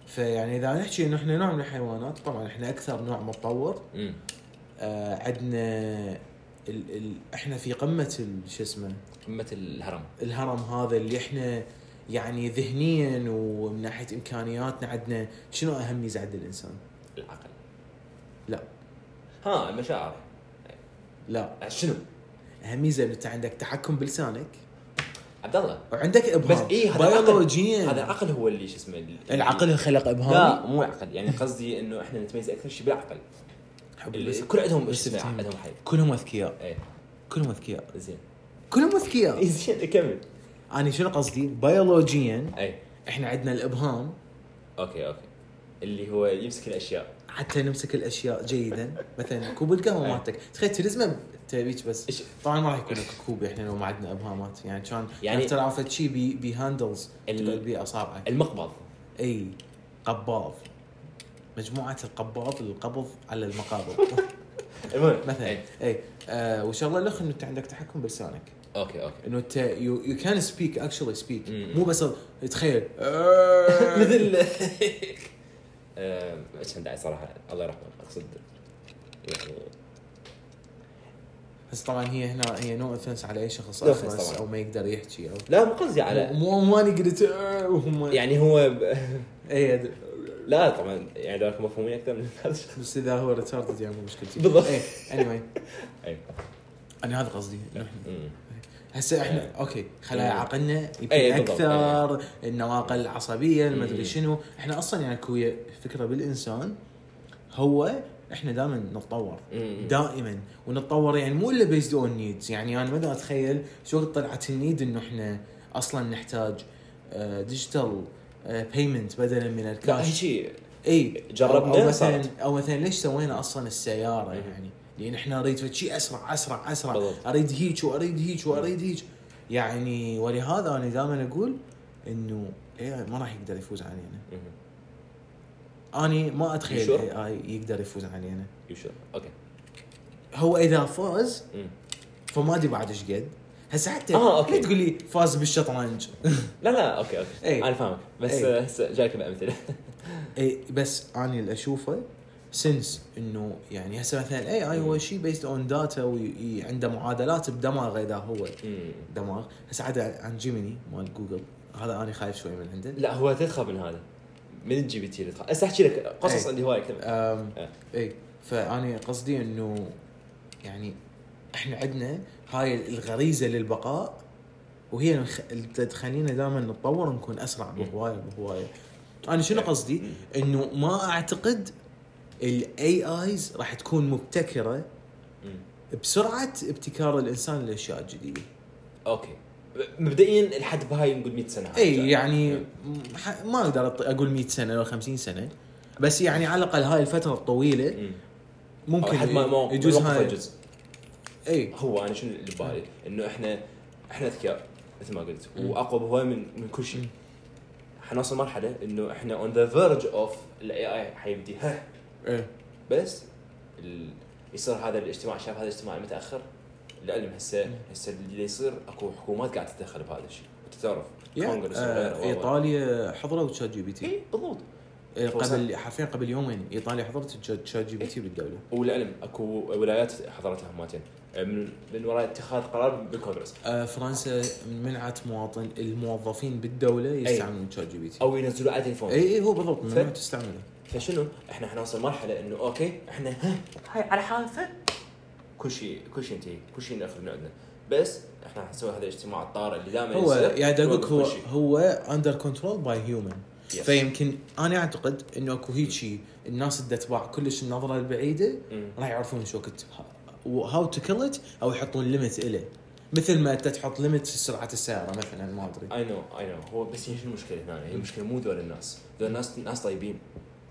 فيعني اذا نحكي انه احنا نوع من الحيوانات طبعا احنا اكثر نوع متطور
امم
آه عندنا ال ال احنا في قمه ال- شو اسمه
قمه الهرم
الهرم هذا اللي احنا يعني ذهنيا ومن ناحيه امكانياتنا عندنا شنو اهم ميزه عند الانسان؟
العقل
لا
ها المشاعر آه،
لا
شنو؟
اهم ميزه انه انت عندك تحكم بلسانك
عبد الله
وعندك ابهام
بس اي هذا العقل
بيولوجيا
هذا العقل هو اللي شو اسمه اللي-
العقل خلق
لا
ابهامي
مو عقل يعني قصدي انه احنا نتميز اكثر شيء بالعقل
حب
اللي-
البس-
كل عندهم
بس
ايش اسمه
تفهم.
عندهم حل
كلهم اذكياء
ايه
كلهم اذكياء
زين
كلهم اذكياء
زين كمل
انا شنو قصدي بيولوجيا
ايه
احنا عندنا الابهام
اوكي اوكي اللي هو يمسك الاشياء
حتى نمسك الاشياء جيدا مثلا كوب القهوه مالتك تخيل تلزمه تبيك بس
إيه. إيش-
طبعا ما راح يكون لك كوب احنا لو ما عندنا ابهامات يعني كان
يعني-
يعني ترى فد شيء بي, بي هاندلز
ال-
تقعد بيئه صعبه
المقبض
اي قباض مجموعه القباض للقبض على المقابض
المهم
مثلا
إيه.
اي آه والشغله الاخرى انه انت عندك تحكم بلسانك
اوكي اوكي
انه انت يو يو كان سبيك اكشلي سبيك
مم.
مو بس تخيل
مثل آه، ايش كان داعي صراحه الله يرحمه اقصد يعني
بس طبعا هي هنا هي نو اوفنس على اي شخص
No offense
اخر بس
طبعا.
او ما يقدر يحكي او
لا مو قصدي على
مو مو انا قلت آه، وهم إيه،
يعني هو
اي أد-
لا طبعا يعني لو مفهومين اكثر من هذا الشيء.
بس اذا هو ريتاردد يعني مو مشكلتي
بالضبط. أيوة.
اي anyway
اي
انا هذا قصدي إنه إحنا-
أمم.
هسه
إيه.
احنا اوكي خلينا
إيه.
عقلنا يمكن
إيه، بالضبط.
اكثر النواقل العصبيه ما
مم.
ادري شنو احنا اصلا يعني كوية فكره بالانسان هو احنا دائما نتطور
أمم.
دائما ونتطور يعني مو الا بيزد اون نيدز يعني انا ما دا اتخيل شو وقت طلعت النيد انه احنا اصلا نحتاج آه، ديجيتال بيمنت بدلا من
لا
الكاش
هيجي
اي
جربنا
او مثلا
صارت.
او مثلا ليش سوينا اصلا السياره
مهم.
يعني؟ لان احنا نريد فد شيء اسرع اسرع اسرع
بالضبط.
اريد هيك واريد هيك واريد هيك يعني ولهذا انا دائما اقول انه اي ما راح يقدر يفوز علينا
أمم.
انا ما اتخيل
Sure.
اي اي يقدر يفوز علينا
You sure? اوكي
هو اذا فاز
أمم.
فما ادري بعد ايش قد هسه حتى
آه،
لا
أوكي.
تقول لي فاز بالشطرنج
لا لا اوكي اوكي
إيه.
انا فاهمك بس
إيه.
آه، هسه جايك بامثله
اي إيه، بس انا اللي اشوفه سنس انه يعني هسه مثلا اي اي هو شيء بيست اون داتا وعنده معادلات بدماغه اذا هو
أمم.
دماغ هسه عاد عن جيميني مال جوجل هذا انا خايف شوي من عنده
لا هو تدخل من هذا من الجي بي تي اللي تخاف هسه احكي لك قصص
إيه.
اللي هواي كتب
أم،
إيه.
اي فاني قصدي انه يعني احنا عندنا هاي الغريزه للبقاء وهي الخ- اللي تخلينا دائما نتطور ونكون اسرع بهوايه بهوايه انا
إيه.
شنو قصدي؟ انه ما اعتقد الاي ايز راح تكون مبتكره بسرعه ابتكار الانسان للاشياء الجديده.
اوكي مبدئيا الحد بهاي نقول 100 سنه
اي يعني
إيه.
م- ح- ما اقدر أط- اقول 100 سنه لو 50 سنه بس يعني على الاقل هاي الفتره الطويله
أمم.
ممكن
حد ما ما
يجوز
يجوز
هاي إيه،
الجزء
اي
هو انا شنو اللي ببالي انه احنا احنا اذكياء مثل ما قلت واقوى بهواي من من كل شيء حنوصل مرحله انه احنا اون ذا فيرج اوف الاي اي حيبدي ها
إيه.
بس ال... يصير هذا الاجتماع شاف هذا الاجتماع متاخر العلم هسه هسه اللي يصير اكو حكومات قاعده تتدخل بهذا الشيء وانت تعرف
يا،
كونغرس وغيره
آه،
وغيره.
ايطاليا حضروا تشات جي بي تي
اي بالضبط
إيه،
فرصة.
قبل حرفيا قبل يومين ايطاليا حضرت تشات- تشات جي بي تي بالدوله
وللعلم اكو ولايات حضرتها هماتين من من وراء اتخاذ قرار بالكونغرس
آه، فرنسا منعت مواطن الموظفين بالدوله يستعملون تشات جي بي تي
او ينزلوا على تليفون
اي اي هو بالضبط ممنوع
إيه. ف-
تستعمله
فشنو احنا حنوصل مرحله انه اوكي احنا ها هاي على حافه كل شيء كل شيء ينتهي كل شيء ناخذ من عندنا بس احنا حنسوي هذا الاجتماع الطارئ اللي دائما
هو
يصير.
يعني اقول لك هو
كل شيء.
هو اندر كنترول باي هيومن
Yes.
فيمكن انا اعتقد انه اكو هيك شيء الناس اللي تتبع كلش النظره البعيده
مم.
راح يعرفون شو وقت هاو تو كيل ات او يحطون ليميت له مثل ما انت تحط ليميت سرعه السياره مثلا ما ادري
اي نو اي نو هو بس هي شنو المشكله هنا؟ هي المشكله مو ذول الناس، ذول الناس ناس طيبين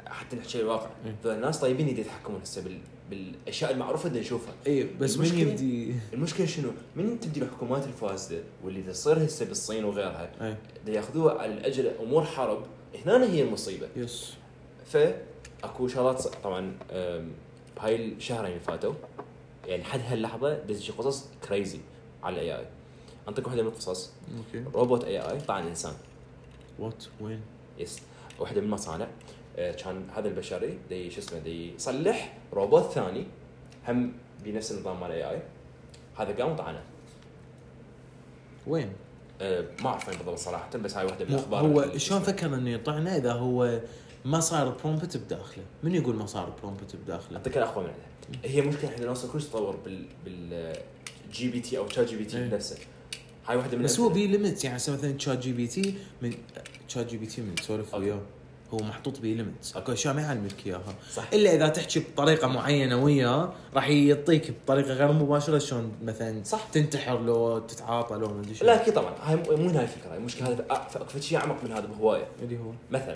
حتى نحكي الواقع،
إيه.
ذول الناس طيبين يدي يتحكمون هسه بال... بالاشياء المعروفه اللي نشوفها.
اي إيه، بس من
المشكلة-
يبدي
المشكله شنو؟ من تبدي الحكومات الفاسده واللي دا تصير هسه بالصين وغيرها،
اي
دا ياخذوها على الاجل امور حرب، هنا هي المصيبه.
يس
فاكو شغلات ص- طبعا أم، بهاي الشهرين اللي فاتوا يعني لحد هاللحظه دزت قصص كريزي على الاي اي. انطيك واحده من القصص،
اوكي
روبوت اي اي طعن انسان.
وات وين
يس واحده من المصانع آه، كان هذا البشري دي شو اسمه دي يصلح روبوت ثاني هم بنفس النظام مال اي اي هذا قام وطعنه
وين
آه، ما اعرف وين بالضبط صراحه بس هاي واحده من
مو-
الاخبار
هو
اللي-
شلون فكر انه يطعنه اذا هو ما صار برومبت بداخله؟ من يقول ما صار برومبت بداخله؟
اعطيك الاقوى من عندها هي مشكله احنا نوصل كلش تطور بال بال جي بي تي او تشات جي بي تي
إيه.
بنفسه هاي واحده من
بس هو
الأمثلة.
بي ليميتس يعني هسه مثلا تشات جي بي تي من تشات جي بي تي من تسولف
أوكي.
وياه هو محطوط بي ليميتس اكو اشياء ما يعلمك اياها
صح
الا اذا تحكي بطريقه معينه وياه راح يعطيك بطريقه غير مباشره شلون مثلا
صح.
تنتحر لو تتعاطى لو ما ادري شنو.
لا اكيد طبعا هاي مو مو هاي الفكره هاي المشكله هذا آه، فد شيء اعمق من هذا بهوايه
اللي هو
مثلا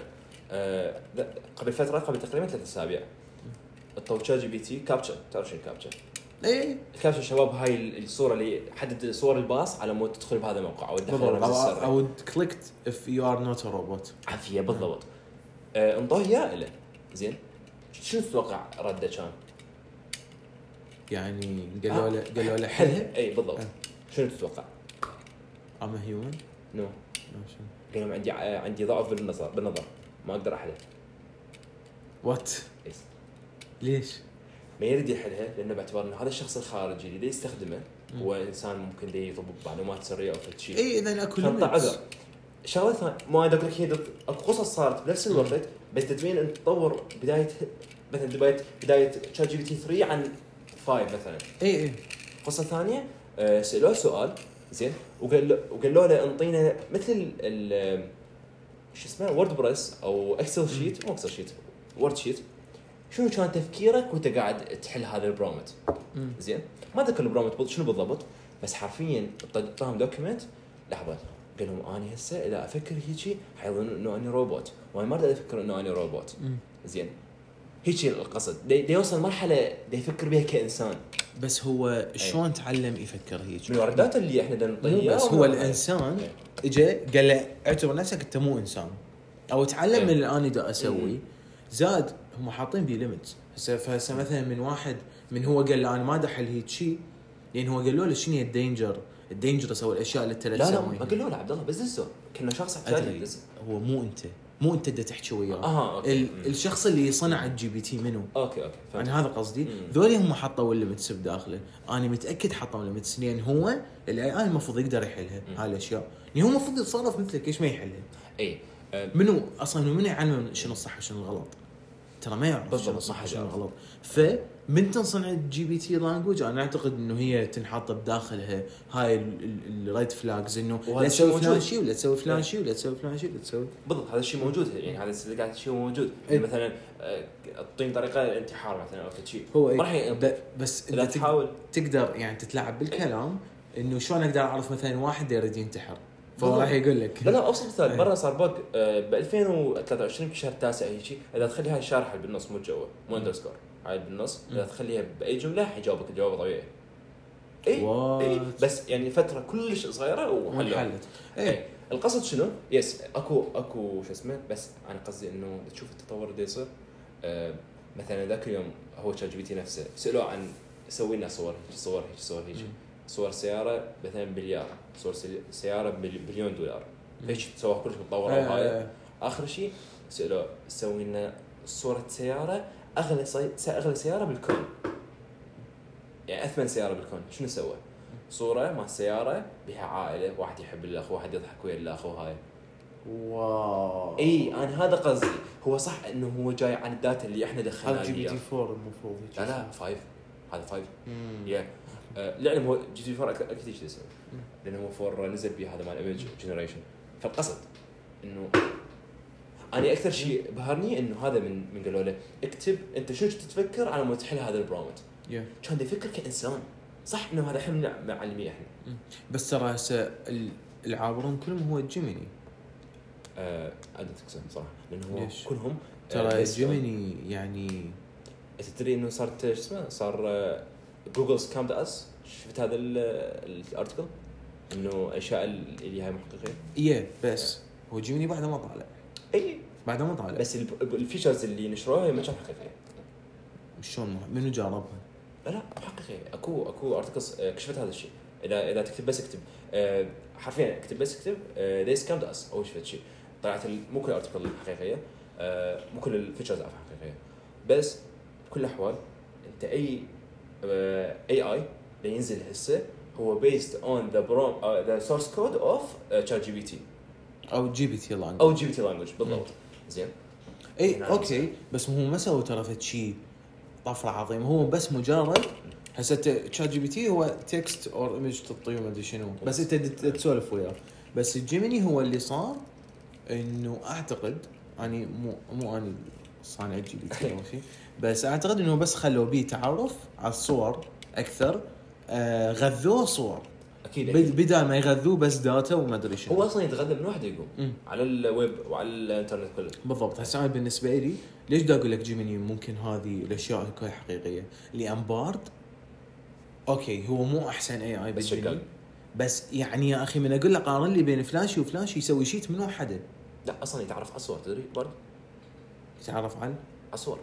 آه لا، قبل فتره قبل تقريبا ثلاث اسابيع طلعوا تشات جي بي تي كابتشا تعرف شنو الكابتشا؟
اي
الكابتشا شباب هاي الصوره اللي حدد صور الباص على مود تدخل بهذا الموقع او تدخل
بالضبط
الرمز
او
السري
او كليكت اف يو ار نوت ا روبوت
عافيه بالضبط آه انطوه اياه له زين شنو تتوقع رده كان؟
يعني قالوا له
آه.
قالوا له حلها
حلها اي إيه، بالضبط
آه.
شنو تتوقع؟
ام هيومن
نو قال لهم عندي آه، عندي ضعف بالنظر بالنظر ما اقدر احلها
وات
يس.
ليش؟
ما يريد يحلها لانه باعتبار انه هذا الشخص الخارجي اللي دا يستخدمه هو انسان ممكن دا يطلب معلومات سريه او فد شيء
اي اذا اكو
شرطه
limits.
عذر شغله ثانيه ما أدري اقول لك هي دت- اكو قصص صارت بنفس الوقت بس تدوين انت تطور بدايه مثلا بدايه بدايه تشات جي بي تي 3 عن 5 مثلا
اي اي
قصه ثانيه آه، سالوه سؤال زين وقال وقالوا له انطينا مثل ال- ال شو اسمه وورد بريس او اكسل شيت مو اكسل شيت وورد شيت شنو كان تفكيرك وانت قاعد تحل هذا البرومت
مم.
زين ما ذكر البرومت بال- شنو بالضبط بس حرفيا ط- طاهم دوكيمنت لحظه قال لهم انا هسه اذا افكر هيجي حيظنون انه انا روبوت وانا ما اريد افكر انه انا روبوت
مم.
زين هيجي القصد دي, دي يوصل مرحله دي يفكر بها كانسان
بس هو شلون تعلم يفكر هيك؟
إيه. من الوردات اللي احنا دا نعطيها
مو
إياها
طيب، بس هو
ولا-
الانسان
إيه.
اجى قال له اعتبر نفسك انت مو انسان او تعلم
إيه.
من اللي انا دا اسوي
مم.
زاد هم حاطين بي ليمت هسه فهسه مثلا من واحد من هو قال له انا ما دا احل هيك شيء لان هو قالوا له شنو هي الدينجر؟ الدينجرس او الاشياء اللي انت لا
لا لا
تسويها
ما قالوا له عبد الله بزنسه كنا شخص احتياجي
ادري
بزنس
هو مو انت مو انت دا تحكي وياه
اها اوكي
آه. ال-
مم.
الشخص اللي صنع الجي بي تي منو؟
اوكي اوكي فهمت
انا يعني هذا قصدي
مم.
ذولي هم حطوا الليمتس بداخله انا متاكد حطوا الليمتس لان هو الاي اي المفروض يقدر يحلها
مم.
هاي الاشياء لان هو المفروض يتصرف مثلك ليش ما يحلها
اي أه،
منو اصلا منو يعلم شنو الصح وشنو الغلط ترى ما يعرف
بالضبط،
شنو
ما
الصح
حد
وشنو
يعرف.
الغلط فمن تنصنع الجي بي تي لانجوج انا اعتقد انه هي تنحط بداخلها هاي الريد فلاجز انه
وهذا
لا
الشيء
تسوي فلان
موجود.
شيء ولا تسوي فلان
إيه.
شيء ولا تسوي فلان شيء ولا تسوي
بالضبط هذا الشيء موجود يعني هذا اللي قاعد الشيء موجود
إيه.
يعني مثلا آه، اعطيني طريقه الانتحار مثلا او شيء
هو
ما راح
إيه
ي-
ب- بس
لا
انت تق-
تحاول
تقدر يعني تتلاعب بالكلام انه شلون اقدر اعرف مثلا واحد يريد ينتحر فهو
بالضبط.
راح يقول لك
لا لا ابسط مثال
إيه.
مره صار بق آه، ب 2023 بالشهر التاسع هيك شيء اذا تخليها الشارحه اللي بالنص مو جوا مو اندرسكور هاي بالنص اذا
مم.
تخليها باي جمله حيجاوبك الجواب طبيعي اي اي
What?
بس يعني فتره كلش صغيره وحلوها
وانحلت
ايه
ايه
القصد شنو؟ يس اكو اكو شو اسمه بس انا قصدي انه تشوف التطور اللي يصير آه، مثلا ذاك اليوم هو تشات جي بي تي نفسه سالوه عن سوي لنا صور هيك صور هيك صور هيك صور سياره مثلا بليار صور سي- سياره بمليون دولار فيش سواها كلش متطوره
إيه،
وهاي
إيه.
اخر شيء سالوه سوي لنا صوره سياره اغلى سي... سي- اغلى سياره بالكون يعني اثمن سياره بالكون شنو سوى؟ صوره مع سياره بها عائله واحد يحب الاخ واحد يضحك ويا الاخ وهاي
واو
اي انا هذا قصدي هو صح انه هو جاي عن الداتا اللي احنا دخلناها
هذا جي بي تي
إياه.
4 المفروض هيك
لا لا فايف هذا فايف
مم.
يا آه، للعلم هو جي تي 4 اكيد ايش يسوي لانه هو فور نزل به هذا مال ايمج جنريشن فالقصد انه انا اكثر شيء بهرني انه هذا من من قالوا له اكتب انت شنو كنت تفكر على ما تحل هذا البرومت
يا.
كان دا يفكر كانسان صح انه هذا احنا معلمين احنا
بس ترى هسه ال- العابرون كلهم هو جيميني
آه، عدد تكسر صراحه لانه هو
ليش؟
كلهم آه،
ترى
بس-
جيميني يعني
انت تدري انه صارت شو اسمه صار آه، جوجل سكامد اس شفت هذا الارتكل انه اشياء اللي هاي محققين
يا بس هو جيميني بعده ما طالع
اي
بعده ما طالع
بس الب- الفيشرز اللي نشروها هي ما كانت حقيقيه
شلون ما- منو جربها؟
لا لا مو حقيقيه اكو اكو ارتكلز آه، كشفت هذا الشيء اذا اذا تكتب بس اكتب آه، حرفيا اكتب بس اكتب آه، ذي سكامد اس او شفت شيء طلعت ال- مو كل الارتكل حقيقيه آه، مو كل الفيتشرز عفوا حقيقيه بس بكل الاحوال انت اي اي اي آه، اللي ينزل هسه هو بيست اون ذا بروم ذا سورس كود اوف تشات جي بي تي
او جي بي تي لانجوج
او جي بي تي لانجوج بالضبط زين
اي
نعم.
اوكي إيه، بس هو ما سوى ترى فد شيء طفره عظيمه هو بس مجرد هسه تشات جي بي تي هو تكست اور ايمج تعطيه ما ادري شنو بس انت د- تسولف وياه بس الجيميني هو اللي صار انه اعتقد اني مو مو اني صانع الجي بي تي او شيء بس اعتقد انه بس خلوا بيه تعرف على الصور اكثر آه غذوه صور
اكيد أكيد.
بد- بدال ما يغذوه بس داتا وما ادري شنو
إيه. هو اصلا يتغذى من وحده يقوم
مم.
على الويب وعلى الانترنت كله
بالضبط هسه انا بالنسبه لي ليش دا اقول لك جيميني ممكن هذه الاشياء تكون حقيقيه؟ لان بارد اوكي هو مو احسن اي اي
بس
بجيميني
شغال.
بس يعني يا اخي من اقول لك قارن لي بين فلاشي وفلاشي يسوي شيت من وحده
لا اصلا يتعرف على الصور تدري برضه
تعرف عن
على الصور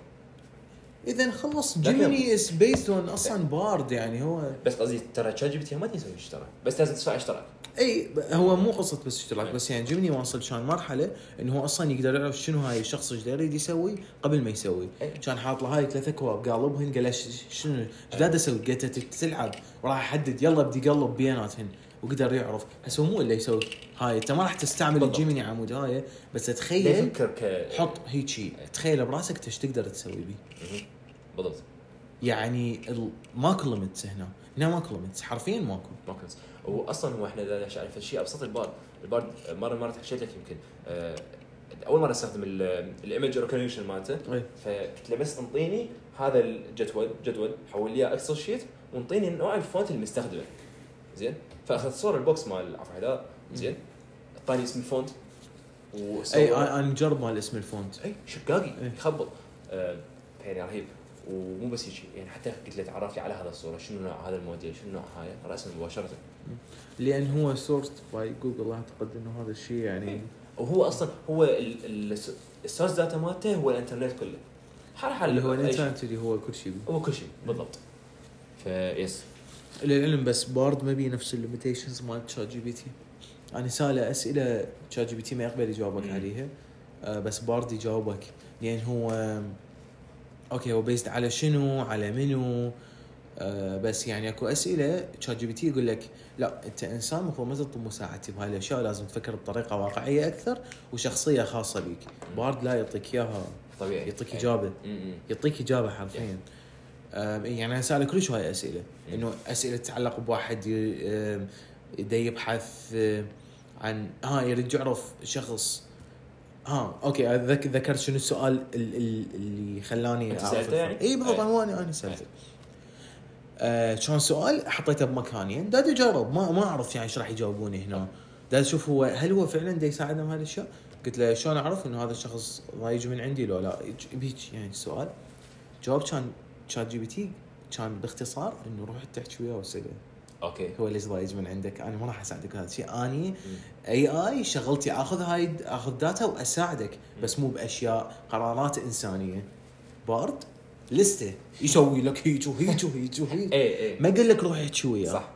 اذا خلص
لا،
جيميني از بيست اون اصلا بارد يعني هو
بس قصدي ترى تشات جي بي تي ما تسوي اشتراك بس لازم تدفع اشتراك
اي ب- هو مو قصه بس اشتراك بس يعني جيميني واصل كان مرحله انه هو اصلا يقدر يعرف شنو هاي الشخص ايش يريد يسوي قبل ما يسوي
إي.
كان حاط له هاي ثلاث اكواب قالبهن قال له ش- شنو ايش قاعد اسوي؟ قلت له تبي تلعب وراح احدد يلا بدي اقلب بياناتهن وقدر يعرف بس هو مو اللي يسوي هاي انت ما راح تستعمل
بالضبط.
الجيميني عمود هاي بس
لا
تخيل
يفكر ك
حط هيجي تخيل براسك ايش تقدر تسوي بيه
مهم. بالضبط
يعني ال- ماكو ليمتس هنا هنا ماكو ليمتس حرفيا ماكو
ماكو ناس. هو اصلا هو احنا اذا نحكي عن شيء ابسط البارد البارد مره مره حكيت لك يمكن آه، اول مره استخدم الايمج ريكوجنيشن مالته
إي.
فقلت له بس انطيني هذا الجدول جدول حول لي إياه اكسل شيت وانطيني نوع الفونت المستخدمه زين فاخذت صور البوكس مال عفوا هذا زين اعطاني اسم الفونت وسوى-
اي انا أنا مجرب مال اسم الفونت
اي شقاقي
آه. إيه.
يخبط آه، يعني رهيب ومو بس هيك يعني حتى قلت له تعرف لي على هذا الصوره شنو نوع هذا الموديل شنو نوع هاي راسا مباشره
لان هو سورس باي جوجل اعتقد انه هذا الشيء
إيه،
يعني
وهو اصلا هو ال- ال- السورس داتا مالته هو الانترنت كله حال حال
اللي هو
أي شيء.
الانترنت اللي هو كل شيء
هو كل شيء بالضبط فيس
للعلم بس بارد ما بيه نفس الليميتيشنز مال يعني تشات جي بي تي انا ساله اسئله تشات جي بي تي ما يقبل يجاوبك
مم.
عليها آه، بس بارد يجاوبك لان هو آم، اوكي هو بيست على شنو على منو آه، بس يعني اكو اسئله تشات جي بي تي يقول لك لا انت انسان المفروض ما تطلب مساعدتي بهاي الاشياء لازم تفكر بطريقه واقعيه اكثر وشخصيه خاصه بيك بارد لا يعطيك اياها
طبيعي
يعطيك
يعني.
اجابه
م- م.
يعطيك اجابه حرفيا أم، يعني انا سالك كلش هاي اسئله
مم.
انه اسئله تتعلق بواحد ي- أم، دا يبحث أم، عن ها يريد يعرف شخص ها اوكي أنا ذك- ذكرت شنو السؤال ال- ال- اللي خلاني
أنت سألته يعني؟
اي بالضبط انا
إيه.
انا أنا سالته آه، كان سؤال حطيته بمكانين داد اجرب ما ما اعرف يعني ايش راح يجاوبوني هنا داد اشوف هو هل هو فعلا دا يساعدهم هاي الاشياء؟ قلت له شلون اعرف انه هذا الشخص ضايج من عندي لو لا يج- بيج يعني السؤال جواب كان شات جي بي تي كان باختصار انه روح تحكي وياه واساله
اوكي
هو ليش ضايج من عندك؟ انا ما راح اساعدك هذا الشيء، اني اي اي شغلتي اخذ هاي اخذ داتا واساعدك بس مو باشياء قرارات انسانيه. بارد لسته يسوي لك هيج وهيج وهيج وهيج
اي اي
ما قال لك روح احكي وياه
صح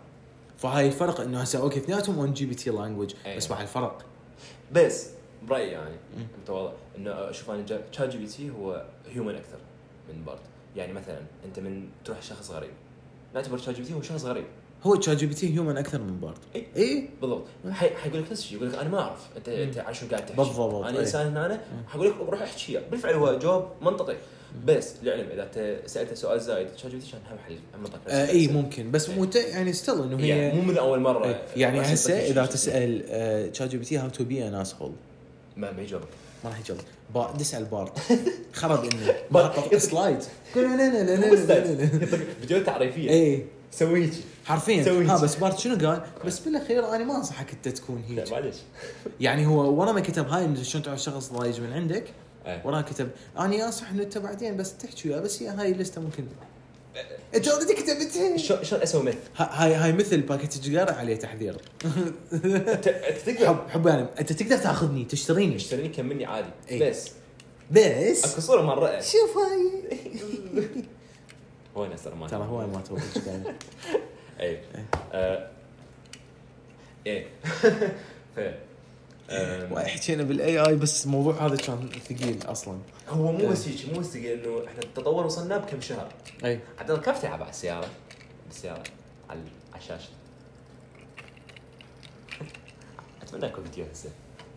فهاي الفرق انه هسه اوكي اثنيناتهم اون جي بي تي لانجوج
إيه.
بس مع الفرق
بس برايي يعني متواضع انه اشوف انا تشات جي بي تي هو هيومن اكثر من بارد يعني مثلا انت من تروح شخص غريب نعتبر تشات جي بي تي هو شخص غريب
هو تشات جي بي تي هيومن اكثر من بارد
إيه.
اي
بالضبط حي- حيقول لك نفس الشيء يقول لك انا ما اعرف انت انت على شو قاعد تحكي
بالضبط،
انا
إيه.
انسان هنا أنا حقول لك روح احكي إياه. بالفعل هو جواب منطقي بس للعلم اذا انت سالته سؤال زايد تشات جي بي تي كان هم حل هم منطق نفسه.
اي آه، ممكن بس
إيه.
مو ت- يعني ستيل انه هي
يعني مو من اول مره
إيه. يعني
راح
هسه
يعطيك
اذا
شيء.
تسال آه، تشات جي بي تي هاو تو بي ان اسهول
ما ما يجاوبك
ما راح يجاوب با تسال بارد خرب انه
بارد.
بارد سلايد لا لا لا لا
مو
لا لا لا.
بس فيديوهات تعريفيه
اي
سوي هيجي سوي
حرفيا إيه، ها
هيك.
بس بارد شنو قال؟ بس بالاخير انا ما انصحك انت تكون
لا،
هيك
معلش
يعني هو ورا ما كتب هاي إنه شلون تعرف شخص ضايج من عندك
إيه.
وراها كتب اني انصح انه انت بعدين بس تحكي وياه بس هي هاي الليسته ممكن انت اوريدي كتبتها
شلون شلون اسوي مثل
ها- هاي هاي مثل باكيت سيجاره عليه تحذير
انت أنت تقدر
إيه. حب حب يعني انت تقدر تاخذني تشتريني
تشتريني كم مني عادي
إيه.
بس
بس
اكو صوره مال رأس
شوف هاي
إيه. هو ناس ترى ما
ترى هو إيه. ما توقف يعني.
اي آه. ايه ف آه، آم،
وحكينا بالاي اي بس الموضوع هذا كان ثقيل اصلا
هو مو بس هيك مو بس تقول انه احنا التطور وصلنا بكم شهر
اي
عاد انا كيف تلعب على السياره بالسياره على على الشاشه عندنا اكو فيديو هسه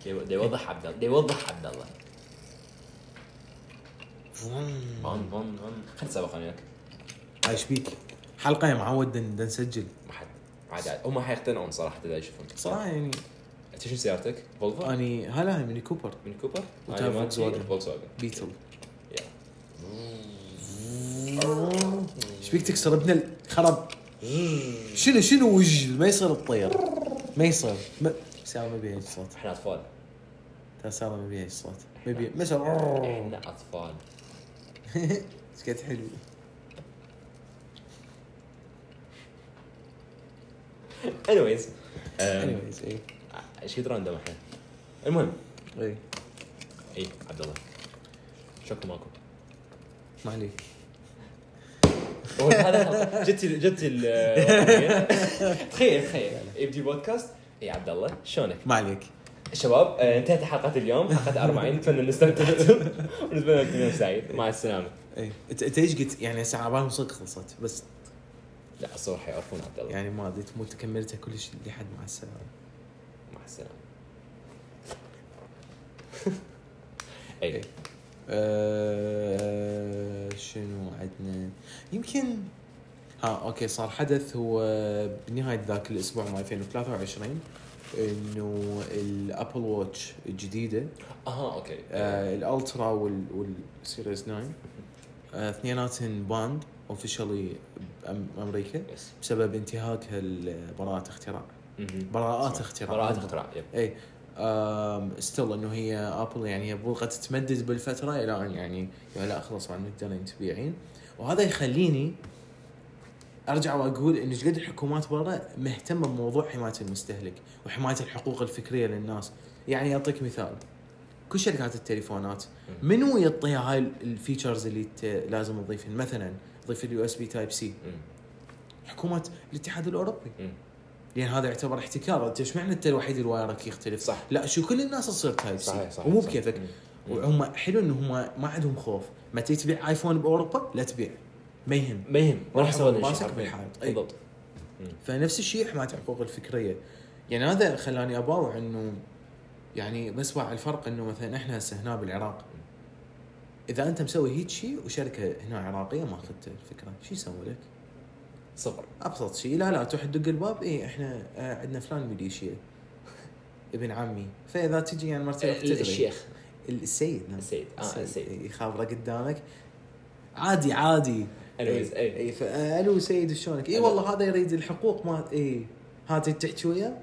دي- دي يوضح عبد الله دي يوضح عبد الله فون فون فون خلنا نسابق انا وياك
ايش بيك؟ حلقه يا معود دن- دن نسجل
ما حد عاد عاد هم حيقتنعون صراحه اذا يشوفون
صراحه يعني
انت شنو سيارتك؟ فولفو
اني هلا هاي ميني كوبر
من كوبر؟
وتاير
هاي مالتي
فولكسواجن.
فولكسواجن
بيتل
يا
ايش بيك تكسر ابن الخرب شنو شنو وج ما يصير تطير ما يصير ما ساره ما بيها هيج صوت
احنا اطفال
ترى ساره ما بيها هيج صوت ما بيها ما يصير
احنا اطفال
ايش قد حلو
انيويز
anyways إيه. اي
ايش كثر راندوم احنا المهم
اي
اي إيه، عبد الله شكو ماكو
ما عليك
هو هذا جت ال- جت ال- تخيل تخيل يبدي بودكاست اي عبد الله شلونك؟
ما عليك
شباب آه، انتهت حلقة اليوم حلقة 40 نتمنى ان استمتعتم ونتمنى لكم يوم سعيد مع السلامة
اي انت إيه. أنت ايش قلت يعني هسه على بالهم صدق خلصت بس
لا الصور حيعرفون عبد الله
يعني ما ادري مو كملتها كلش لحد مع السلامه
مع السلامة اي
أه شنو عندنا يمكن ها اوكي صار حدث هو بنهايه ذاك الاسبوع مال 2023 انه الابل واتش الجديده
اها اوكي
آه الالترا وال والسيريز 9 آه اثنيناتهم باند اوفشلي بامريكا
بس
بسبب انتهاكها لبراءات اختراع
مهم.
براءات اختراع
براءات اختراع يب
اي ستيل انه هي ابل يعني هي بغت تمدد بالفتره الى ان يعني يا لا خلاص ما تقدرين تبيعين وهذا يخليني ارجع واقول ان شقد الحكومات برا مهتمه بموضوع حمايه المستهلك وحمايه الحقوق الفكريه للناس يعني اعطيك مثال كل شركات التليفونات منو يعطيها هاي الفيتشرز اللي ت- لازم تضيفهن مثلا ضيف اليو اس بي تايب سي
مم.
حكومه الاتحاد الاوروبي
مم.
لان هذا يعتبر احتكار انت ايش معنى انت الوحيد اللي وايرك يختلف
صح.
لا شو كل الناس تصير تايب سي
صحيح صحيح
ومو
صحيح.
بكيفك
مم.
وهم حلو ان هم ما عندهم خوف ما تبي تبيع ايفون باوروبا لا تبيع ما يهم
ما يهم
راح
راح يسوون
يسوون ماسك
شيء حرفياً.
بالحائط. أي.
بالضبط
فنفس الشيء حمايه الحقوق الفكريه يعني هذا خلاني اباوع انه يعني بس واع الفرق انه مثلا احنا هسه هنا بالعراق اذا انت مسوي هيك شيء وشركه هنا عراقيه ما اخذت الفكره شو يسوي لك؟
صفر
ابسط شيء لا لا تروح تدق الباب اي احنا آه، عندنا فلان ميليشيا ابن عمي فاذا تجي يعني مرتبه تدري
إيه، الشيخ
السيد نعم
السيد اه السيد
إي، خابره قدامك عادي عادي
Anyways،
اي
إي.
إي، فا، الو سيد شلونك؟ اي والله هذا يريد الحقوق ما اي هذا تحكي وياه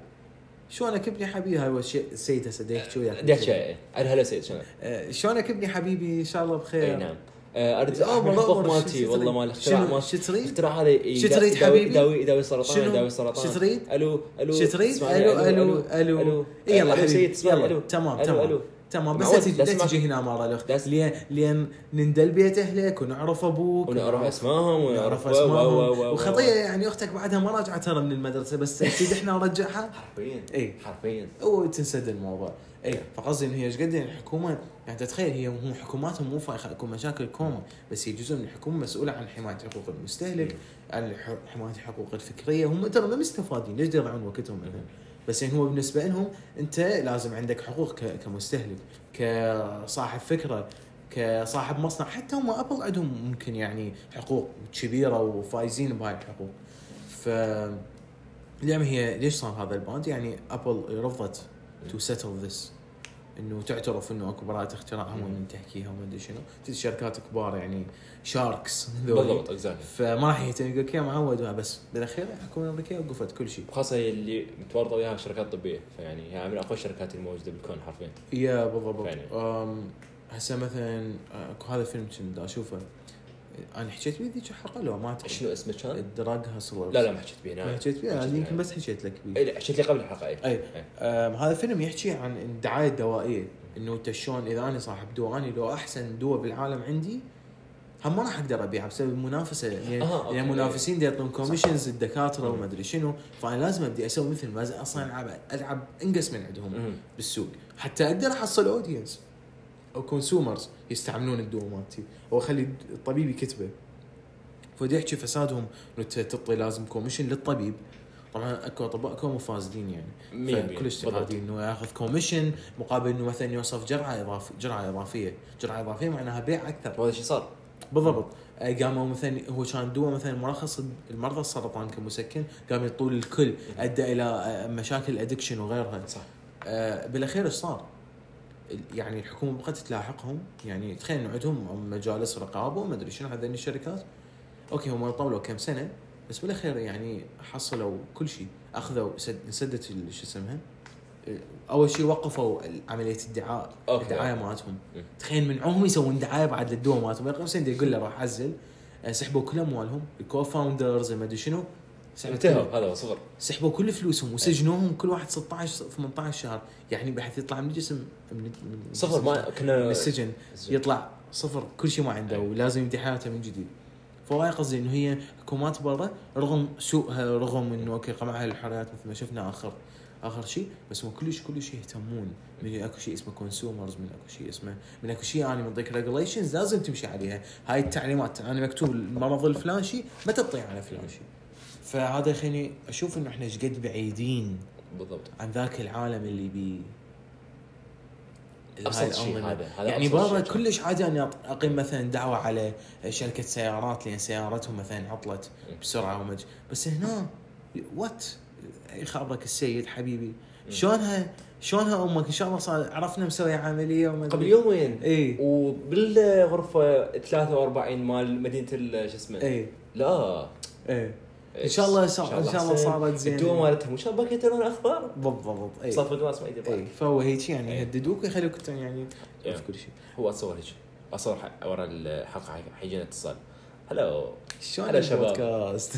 شلونك ابني حبيبي هاي والشي- السيد هسه دا يحكي وياك
ديت شاي هلا سيد شنو؟
آه، شلونك ابني حبيبي ان شاء الله
اي
بخير
نعم آه، اريد
آه،
أحمل
والله
الخوف
والله، شو
مالتي
تريد؟
والله مال الاختراع
شنو-
مال
شو تريد؟
الاختراع هذا ي-
شو تريد
يداوي-
حبيبي؟
يداوي يداوي سرطان
شنو؟
يداوي سرطان
شو تريد؟
الو الو
شو تريد؟
اسمعني،
الو الو الو إي، إيه، يلا حبيبي
تسمعني،
يلا تمام
ألو،
تمام
ألو.
تمام بس
معود،
لا تجي-
بس
لا
ما-
تجي هنا مره الاخت
بس-
لين لين نندل بيت اهلك ونعرف ابوك
ونعرف اسمائهم
ونعرف
ونعرف و- و- و-
اسمائهم
و-
وخطيه يعني اختك بعدها ما راجعت ترى من المدرسه بس اكيد احنا نرجعها
حرفيا
إي.
حرفيا
وتنسد الموضوع اي فقصدي ان هي ايش قد يعني الحكومه يعني تتخيل هي هم حكوماتهم مو فايخه اكو مشاكل كوما بس هي جزء من الحكومه مسؤوله عن حمايه حقوق المستهلك عن الح- حمايه الحقوق الفكريه هم ترى ما مستفادين ليش يضيعون وقتهم مثلا بس يعني هو بالنسبه لهم انت لازم عندك حقوق ك- كمستهلك كصاحب فكره كصاحب مصنع حتى هم ابل عندهم ممكن يعني حقوق كبيره وفايزين بهاي الحقوق ف لما هي ليش صار هذا الباند يعني ابل رفضت تو سيتل ذس انه تعترف انه اكو براءة اختراع هم من تحكيها وما ادري شنو تجي شركات كبار يعني شاركس
بالضبط اكزاكتلي
فما راح يهتم يقول لك يا معود بس بالاخير الحكومه الامريكيه وقفت كل شيء
وخاصه هي اللي متورطه وياها شركات طبيه فيعني هي من اقوى الشركات الموجوده بالكون حرفيا
يا بالضبط
فعلاً.
أم، هسه مثلا اكو هذا فيلم كنت دا اشوفه انا حكيت بيه ذيك الحلقه لو ما أدري.
شنو اسمه كان؟
الدراج هاسلر
لا لا ما حكيت به
إيه. ما
نعم
حكيت بيه
ما
أنا
حكيت
يمكن
بيه. إيه،
بس حكيت لك بيه
اي لا حكيت لي قبل إيه. الحلقه اي
اي أم، هذا فيلم يحكي عن الدعايه الدوائيه انه انت شلون اذا انا صاحب دواني لو احسن دواء بالعالم عندي هم ما راح اقدر ابيعها بسبب يعني المنافسه لان
آه، أوكي.
لان المنافسين دي يعطون كوميشنز الدكاتره وما ادري شنو فانا لازم ابدي اسوي مثل لازم اصلا العب العب انقص من عندهم
مم.
بالسوق حتى اقدر احصل اودينس او كونسومرز يستعملون الدواء مالتي او اخلي الطبيب يكتبه فودي احكي فسادهم انه انت تعطي لازم كوميشن للطبيب طبعا اكو اطباء كومو فاسدين
مية
يعني
بالمية.
فكلش تقاضي انه ياخذ كوميشن مقابل انه مثلا يوصف جرعه اضافيه جرعه اضافيه، جرعه اضافيه معناها بيع اكثر
وهذا الشيء صار
بالضبط آه، قاموا مثلا هو كان دوا مثلا مرخص المرضى السرطان كمسكن قام يطول الكل ادى الى آه، مشاكل ادكشن وغيرها
صح
آه، بالاخير ايش صار؟ ال- يعني الحكومه بقت تلاحقهم يعني تخيل إنه عندهم مجالس رقابه وما ادري شنو هذين الشركات اوكي هم طولوا كم سنه بس بالاخير يعني حصلوا كل شيء اخذوا سد سدت ال- شو اسمها آه، اول شيء وقفوا ال- عمليه الدعاء
أوكي.
الدعايه مالتهم
مم.
تخيل منعوهم يسوون دعايه بعد للدواء مالتهم رقم سند يقول له راح اعزل آه، سحبوا كل اموالهم الكو فاوندرز ما ادري شنو سحبوا كل-
انتهى هذا هو صغر
سحبوا كل فلوسهم وسجنوهم كل واحد 16 18 شهر يعني بحيث يطلع من الجسم من, من
صغر ما
من
كنا
السجن يطلع صفر كل شيء ما عنده
أي.
ولازم يبدي حياته من جديد فهو قصدي انه هي حكومات برا رغم سوءها رغم انه اوكي قمعها الحريات مثل ما شفنا اخر اخر شيء بس هم كلش كلش يهتمون من اكو شيء اسمه كونسيومرز من اكو شيء اسمه من اكو شيء انا من ضيق ريجوليشنز لازم تمشي عليها هاي التعليمات انا مكتوب المرض الفلان شيء ما تطيع على فلان شيء فهذا يخليني اشوف انه احنا ايش قد بعيدين
بالضبط
عن ذاك العالم اللي بي
أبسط
هاي
شيء
الأنظمة.
هذا- هذا
يعني
أبسط
برا
شيء.
كلش عادي اني أط- اقيم مثلا دعوه على شركه سيارات لان سيارتهم مثلا عطلت
مم.
بسرعه ومج بس هنا وات يخابرك السيد حبيبي شلونها شلونها امك ان شاء الله صار عرفنا مسوي عمليه وما أدري. إيه،
قبل يومين
اي
وبالغرفه 43 مال مدينه ال- شو اسمه
اي
لا
اي إيه. إن شاء الله صار- إن شاء الله
حسين.
صارت إيه. زين.
الدوا مالتهم وان شاء الله باكيت لون اخضر
بالضبط اي
صفى قلاص ما يدري
اي فهو هيك يعني
إي.
يهددوك ويخليك يعني
إي.
في كل شيء
هو اتصور هيك اصور ح- ورا الحلقه حق- حيجينا اتصال هلو
شلون
هلا شباب.
البودكاست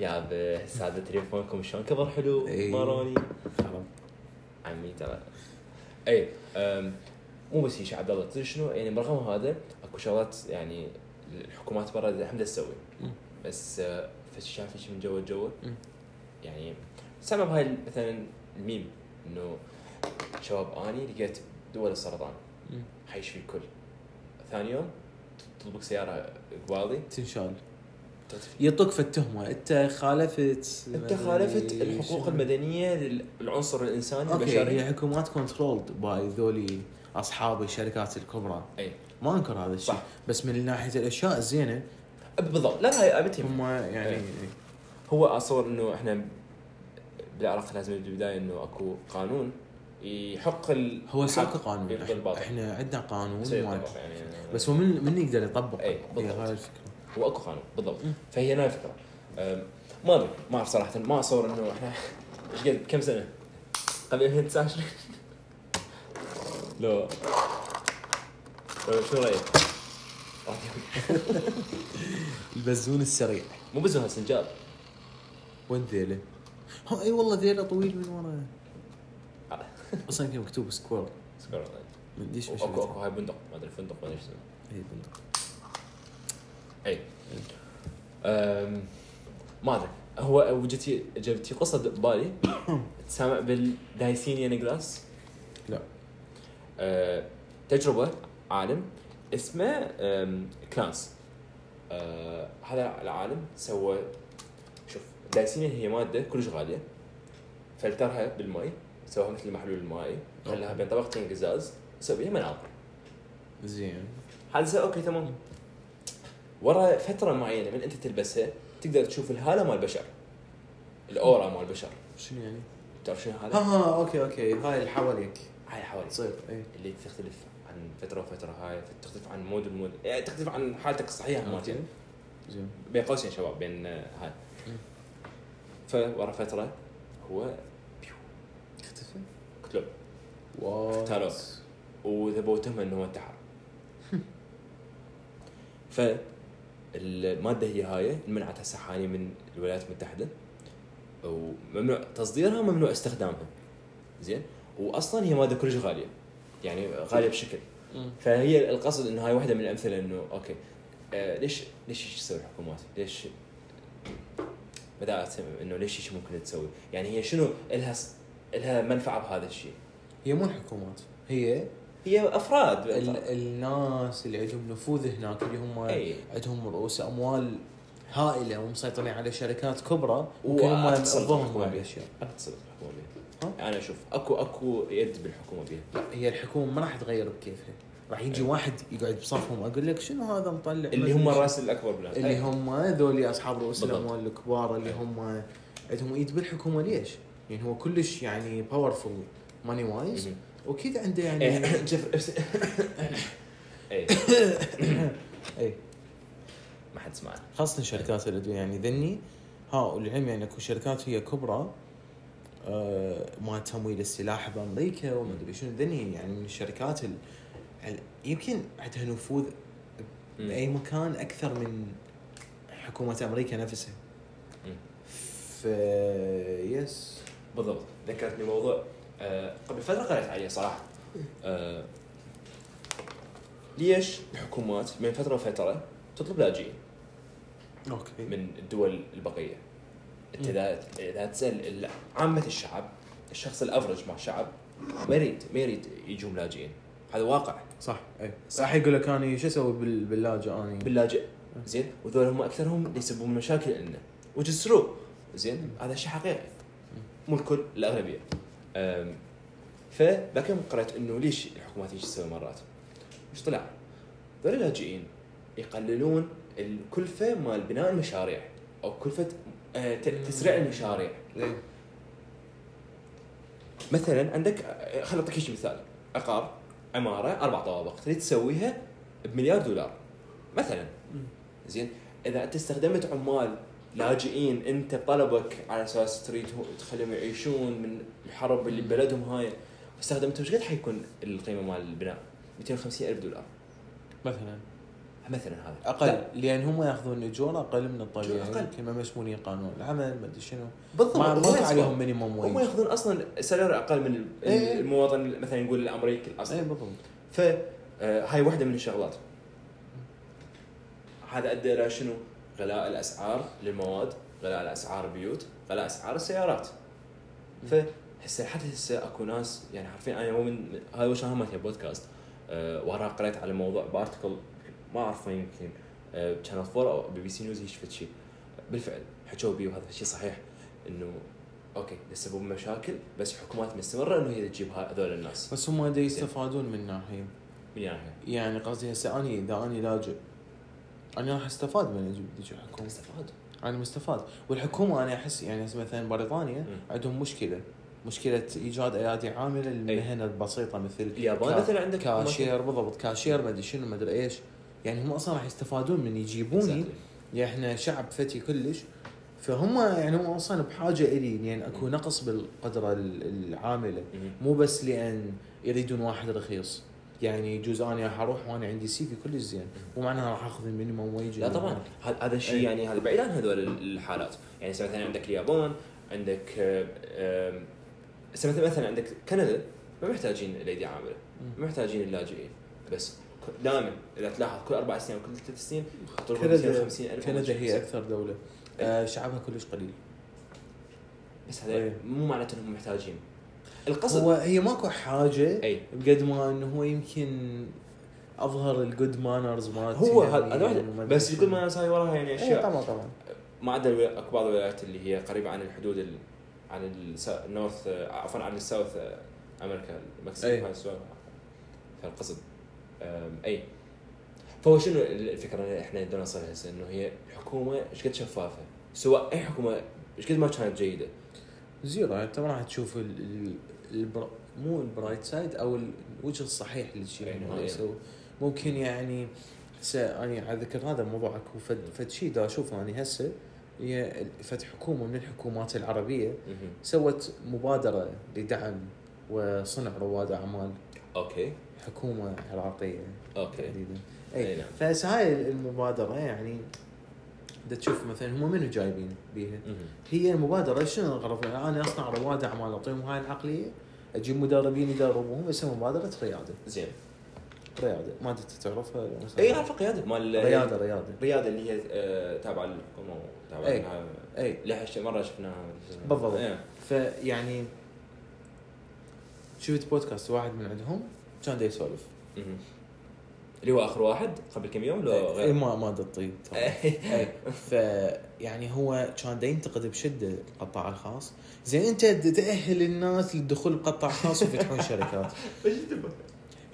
يا ب- هسه هذا تليفونكم شلون كبر حلو
إي.
ماروني عمي ترى اي أم، مو بس هيك عبد الله تدري شنو يعني برغم هذا اكو شغلات يعني الحكومات برا الحمد لله تسوي
مم.
بس أه، فش شايف شي من جوا جوا
مم.
يعني سبب هاي مثلا الميم انه شباب اني لقيت دول السرطان
مم.
حيشفي الكل ثاني يوم تطلبك سياره قبالي
تنشال
تختفي
يطق في التهمه انت خالفت
انت خالفت الحقوق المدنيه للعنصر الانساني
اوكي
البشري
هي حكومات كنترولد باي ذولي اصحاب الشركات الكبرى
اي
ما انكر هذا الشيء
صح.
بس من ناحيه الاشياء الزينه
بالضبط لا لا هي ابتهم
هم يعني
إيه. هو اصور انه احنا بالعراق لازم نبدا بالبدايه انه اكو قانون يحق ال...
هو
حق-
ساق قانون
يرضي الباطل.
احنا عندنا قانون
يصير
وايد.
طبعاً يعني
بس هو من من يقدر يطبق
اي،
هي
إيه، بالضبط.
هاي الفكره
هو اكو قانون بالضبط
مم.
فهي هنا الفكره أم، ما ادري ما اعرف صراحه ما اصور انه احنا ايش قد كم سنه؟ قبل 2019 لو لو شو رايك؟
البزون السريع
مو بزهر سنجاب
وين ذيله؟ ها، اي والله ذيله طويل من ورا
آه.
اصلا كان مكتوب سكوير
سكر الله.
من ليش ما
اكو
شفته؟
اكو هاي بندق ما ادري فندق ما ادري شو اسمه
اي بالضبط.
اي أم، ما ادري هو وجتي جبتي قصه ببالي تسامع بالدايسينيا نجلاس
لا
أه، تجربه عالم اسمه أم، كلانس أه، هذا العالم سوى شوف دايسينيا هي ماده كلش غاليه فلترها بالماء سواها مثل المحلول المائي خلاها بين طبقتين قزاز سوى بيها مناظر
زين
هذا اوكي تمام ورا فتره معينه من انت تلبسها تقدر تشوف الهاله مال البشر الاورا مال البشر
شنو يعني؟
تعرف شنو
ها
هاله؟
ها اوكي اوكي آه، هاي اللي حواليك
هاي حوالي
تصير اي
اللي تختلف عن فتره وفتره هاي تختلف عن مود ومود يعني تختلف عن حالتك الصحيحه مالتك
اوكي زين
بين قوسين شباب بين آه، هاي
مم.
فورا فتره هو
اختفى
قتلوه
واو
اختالوك. وذبوا تهمه انه هو انتحر ف الماده هي هاي منعت هسه حاليا من الولايات المتحده وممنوع تصديرها وممنوع استخدامها زين واصلا هي ماده كلش غاليه يعني غاليه بشكل فهي القصد انه هاي واحده من الامثله انه اوكي آه ليش ليش هيك تسوي الحكومات؟ ليش بدات انه ليش هيك ممكن تسوي؟ يعني هي شنو الها الها منفعه بهذا الشيء؟
هي مو الحكومات هي
هي افراد
ال- الناس اللي عندهم نفوذ هناك اللي هم
اي
عندهم رؤوس اموال هائله ومسيطرين على شركات كبرى ممكن هم
واقتصاد
ضمن
الحكومة
هاي
بيها.
الاشياء
اقتصد الحكومه بيها انا اشوف اكو اكو يد بالحكومه بيها
لا هي الحكومه ما راح تغير بكيفها راح يجي واحد يقعد بصفهم اقول لك شنو هذا مطلع
اللي هم الراس الاكبر بالعالم
اللي هم ذولي اصحاب رؤوس
بالضبط.
الاموال الكبار اللي هم عندهم ايد بالحكومه ليش؟ لان هو كلش يعني باورفول ماني وايز واكيد عنده
إيه.
يعني
جيف اي
اي
إيه. ما حد سمعنا
خاصه شركات الادويه يعني ذني ها والعلم يعني اكو شركات هي كبرى آه، ما تمويل السلاح بامريكا وما ادري شنو ذني يعني من الشركات ال... ال- يمكن عندها نفوذ باي مكان اكثر من حكومه امريكا نفسها
مم.
ف يس
بالضبط ذكرتني موضوع آه، قبل فتره قرأت عليه صراحه
إيه.
آه، ليش الحكومات من فتره وفتره تطلب لاجئين
اوكي
إيه. من الدول البقيه انت اذا اذا تسال ال- عامه الشعب الشخص الافرج مع الشعب ما يريد ما يريد يجوا لاجئين هذا واقع
صح اي إيه. راح يقول لك انا شو اسوي بال... باللاجئ اني
باللاجئ زين وذول هم اكثرهم يسببون مشاكل لنا وجسروا زين هذا شيء حقيقي مو الكل الاغلبيه أم، فبكم قرأت انه ليش الحكومات ايش تسوي مرات؟ ايش طلع؟ ذول اللاجئين يقللون الكلفه مال بناء المشاريع او كلفه آه، ت- تسريع المشاريع
إيه.
مثلا عندك آه، خل اعطيك شي مثال عقار عماره اربع طوابق تريد تسويها بمليار دولار مثلا زين اذا انت استخدمت عمال لاجئين انت بطلبك على اساس تريد تخليهم يعيشون من الحرب اللي ببلدهم هاي استخدمتهم ايش قد حيكون القيمه مال البناء؟ 250 الف دولار
مثلا
مثلا هذا لا،
اقل لان هم ياخذون اجور اقل من
أجور
الطبيعي
أقل.
يمكن ما مسؤولين قانون العمل ما ادري شنو
بالضبط
ما
هم
ما طلع
يدفعون.
عليهم مينيموم
هم
ويج
ياخذون اصلا سالري اقل من ال-
إيه.
المواطن مثلا نقول الامريكي الاصلي
اي بالضبط
فهاي واحده آه، من الشغلات هذا ادى الى شنو؟ غلاء الاسعار للمواد، غلاء الاسعار البيوت، غلاء اسعار السيارات. فهسه حتى هسه اكو ناس يعني عارفين انا مو من هاي وش همتي بودكاست أه ورا قريت على موضوع بارتكل ما اعرف وين يمكن أه شانل 4 او بي بي سي نيوز هيش فد شيء بالفعل حكوا بيه وهذا الشيء صحيح انه اوكي تسبب مشاكل بس الحكومات مستمره انه هي تجيب ها- هذول الناس
بس هم دا يستفادون من ناحيه
من يعني
يعني قصدي هسه اني اذا اني لاجئ انا راح استفاد من اجيب ذيك الحكومه
استفاد
انا مستفاد والحكومه انا احس يعني هسه مثلا بريطانيا
م.
عندهم مشكله مشكله ايجاد ايادي عامله للمهن البسيطه مثل
إيه. اليابان
كا-
مثلا عندك
كاشير بالضبط كاشير ما ادري شنو ما ادري ايش يعني هم اصلا راح يستفادون من يجيبوني
Exactly.
يعني احنا شعب فتي كلش فهم يعني هم اصلا بحاجه الي لان اكو يعني نقص بالقدره ال- العامله
مهم.
مو بس لان يريدون واحد رخيص يعني يجوز انا اروح وانا عندي سي في كلش زين مو معناها راح اخذ المينيموم ويج
لا طبعا هذا هذا الشيء
إيه.
يعني هذا بعيد عن هذول الحالات يعني هسه مثلا عندك اليابان عندك آه، آم، هسه مثلا مثلا عندك كندا ما محتاجين الايدي عامله ما محتاجين اللاجئين بس ك- دائما اذا تلاحظ كل اربع سنين وكل ثلاث سنين يطلبون
كندا
250 الف
كندا هي
250.
اكثر دوله
إيه.
آه شعبها كلش قليل
بس هذا
إيه.
مو معناته انهم محتاجين القصد إيه.
هو هي ماكو حاجه
اي
بقد ما انه هو يمكن اظهر الجود مانرز مالته
هو
يعني
هذا هذا
وما
واحد
أدري
بس
شنو.
يقول ما أنا ساوي وراها يعني
ايه
اشياء
طبعا طبعا
ما عدا الولا- اكو بعض الولايات اللي هي قريبه عن الحدود ال... عن الس- النورث آه، عفوا عن الساوث آه، امريكا المكسيك
أي.
هاي السوالف فالقصد آم، اي فهو شنو الفكره اللي احنا بدنا نوصلها هسه انه هي الحكومه ايش قد شفافه سواء اي حكومه ايش قد ما كانت جيده
زيرو يعني انت ما راح تشوف ال ال البر... مو البرايت سايد او ال- الوجه الصحيح للشيء
أي
اللي هو
نعم.
يسوي ممكن يعني هسه اني على ذكر هذا الموضوع اكو فد فد شيء دا اشوفه اني هسه هي ال- فد حكومه من الحكومات العربيه
مهم.
سوت مبادره لدعم وصنع رواد اعمال
اوكي
حكومه عراقيه
اوكي
تحديدا
أي
اي
نعم.
فهسه هاي المبادره يعني دا تشوف مثلا هم منو جايبين بيها
مهم.
هي المبادره شنو الغرض منها؟ انا اصنع رواد اعمال اعطيهم هاي العقليه اجيب مدربين يدربوهم بس مبادره رياده
زين
رياده ما ادري أنت تعرفها ولا ما
اي اعرف قياده مال
رياده رياده
رياده اللي هي آه، تابعه للحكومه تابعه
أي.
لها-
اي
لها شي- مره شفناها
إيه، بالضبط. يعني،
إيه.
فيعني شفت بودكاست واحد من عندهم كان دا يسولف
مهم. اللي هو اخر واحد قبل كم يوم لو
اي
غير
إيه،
إيه.
ما ما دطيب إيه، ف يعني هو كان دا ينتقد بشده القطاع الخاص زين انت دا تاهل الناس للدخول بقطاع خاص ويفتحون شركات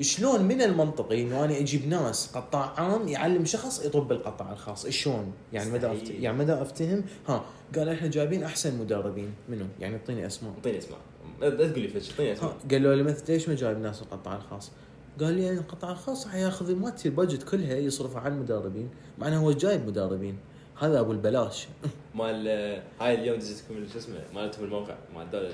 شلون من المنطقي انه انا اجيب ناس قطاع عام يعلم شخص يطب القطاع الخاص شلون يعني مدى أفت...
مستحيل.
يعني مدى افتهم ها قال احنا جايبين احسن مدربين منو يعني اعطيني اسماء
اعطيني اسماء لا تقول لي فش اعطيني اسماء
ها، قالوا لي مثل ليش ما جايب ناس القطاع الخاص؟ قال لي القطاع الخاص حياخذ مالتي البادجت كلها يصرفها على المدربين مع انه هو جايب مدربين هذا ابو البلاش
مال هاي اليوم دزتكم شو اسمه مالتهم الموقع مال دول ال-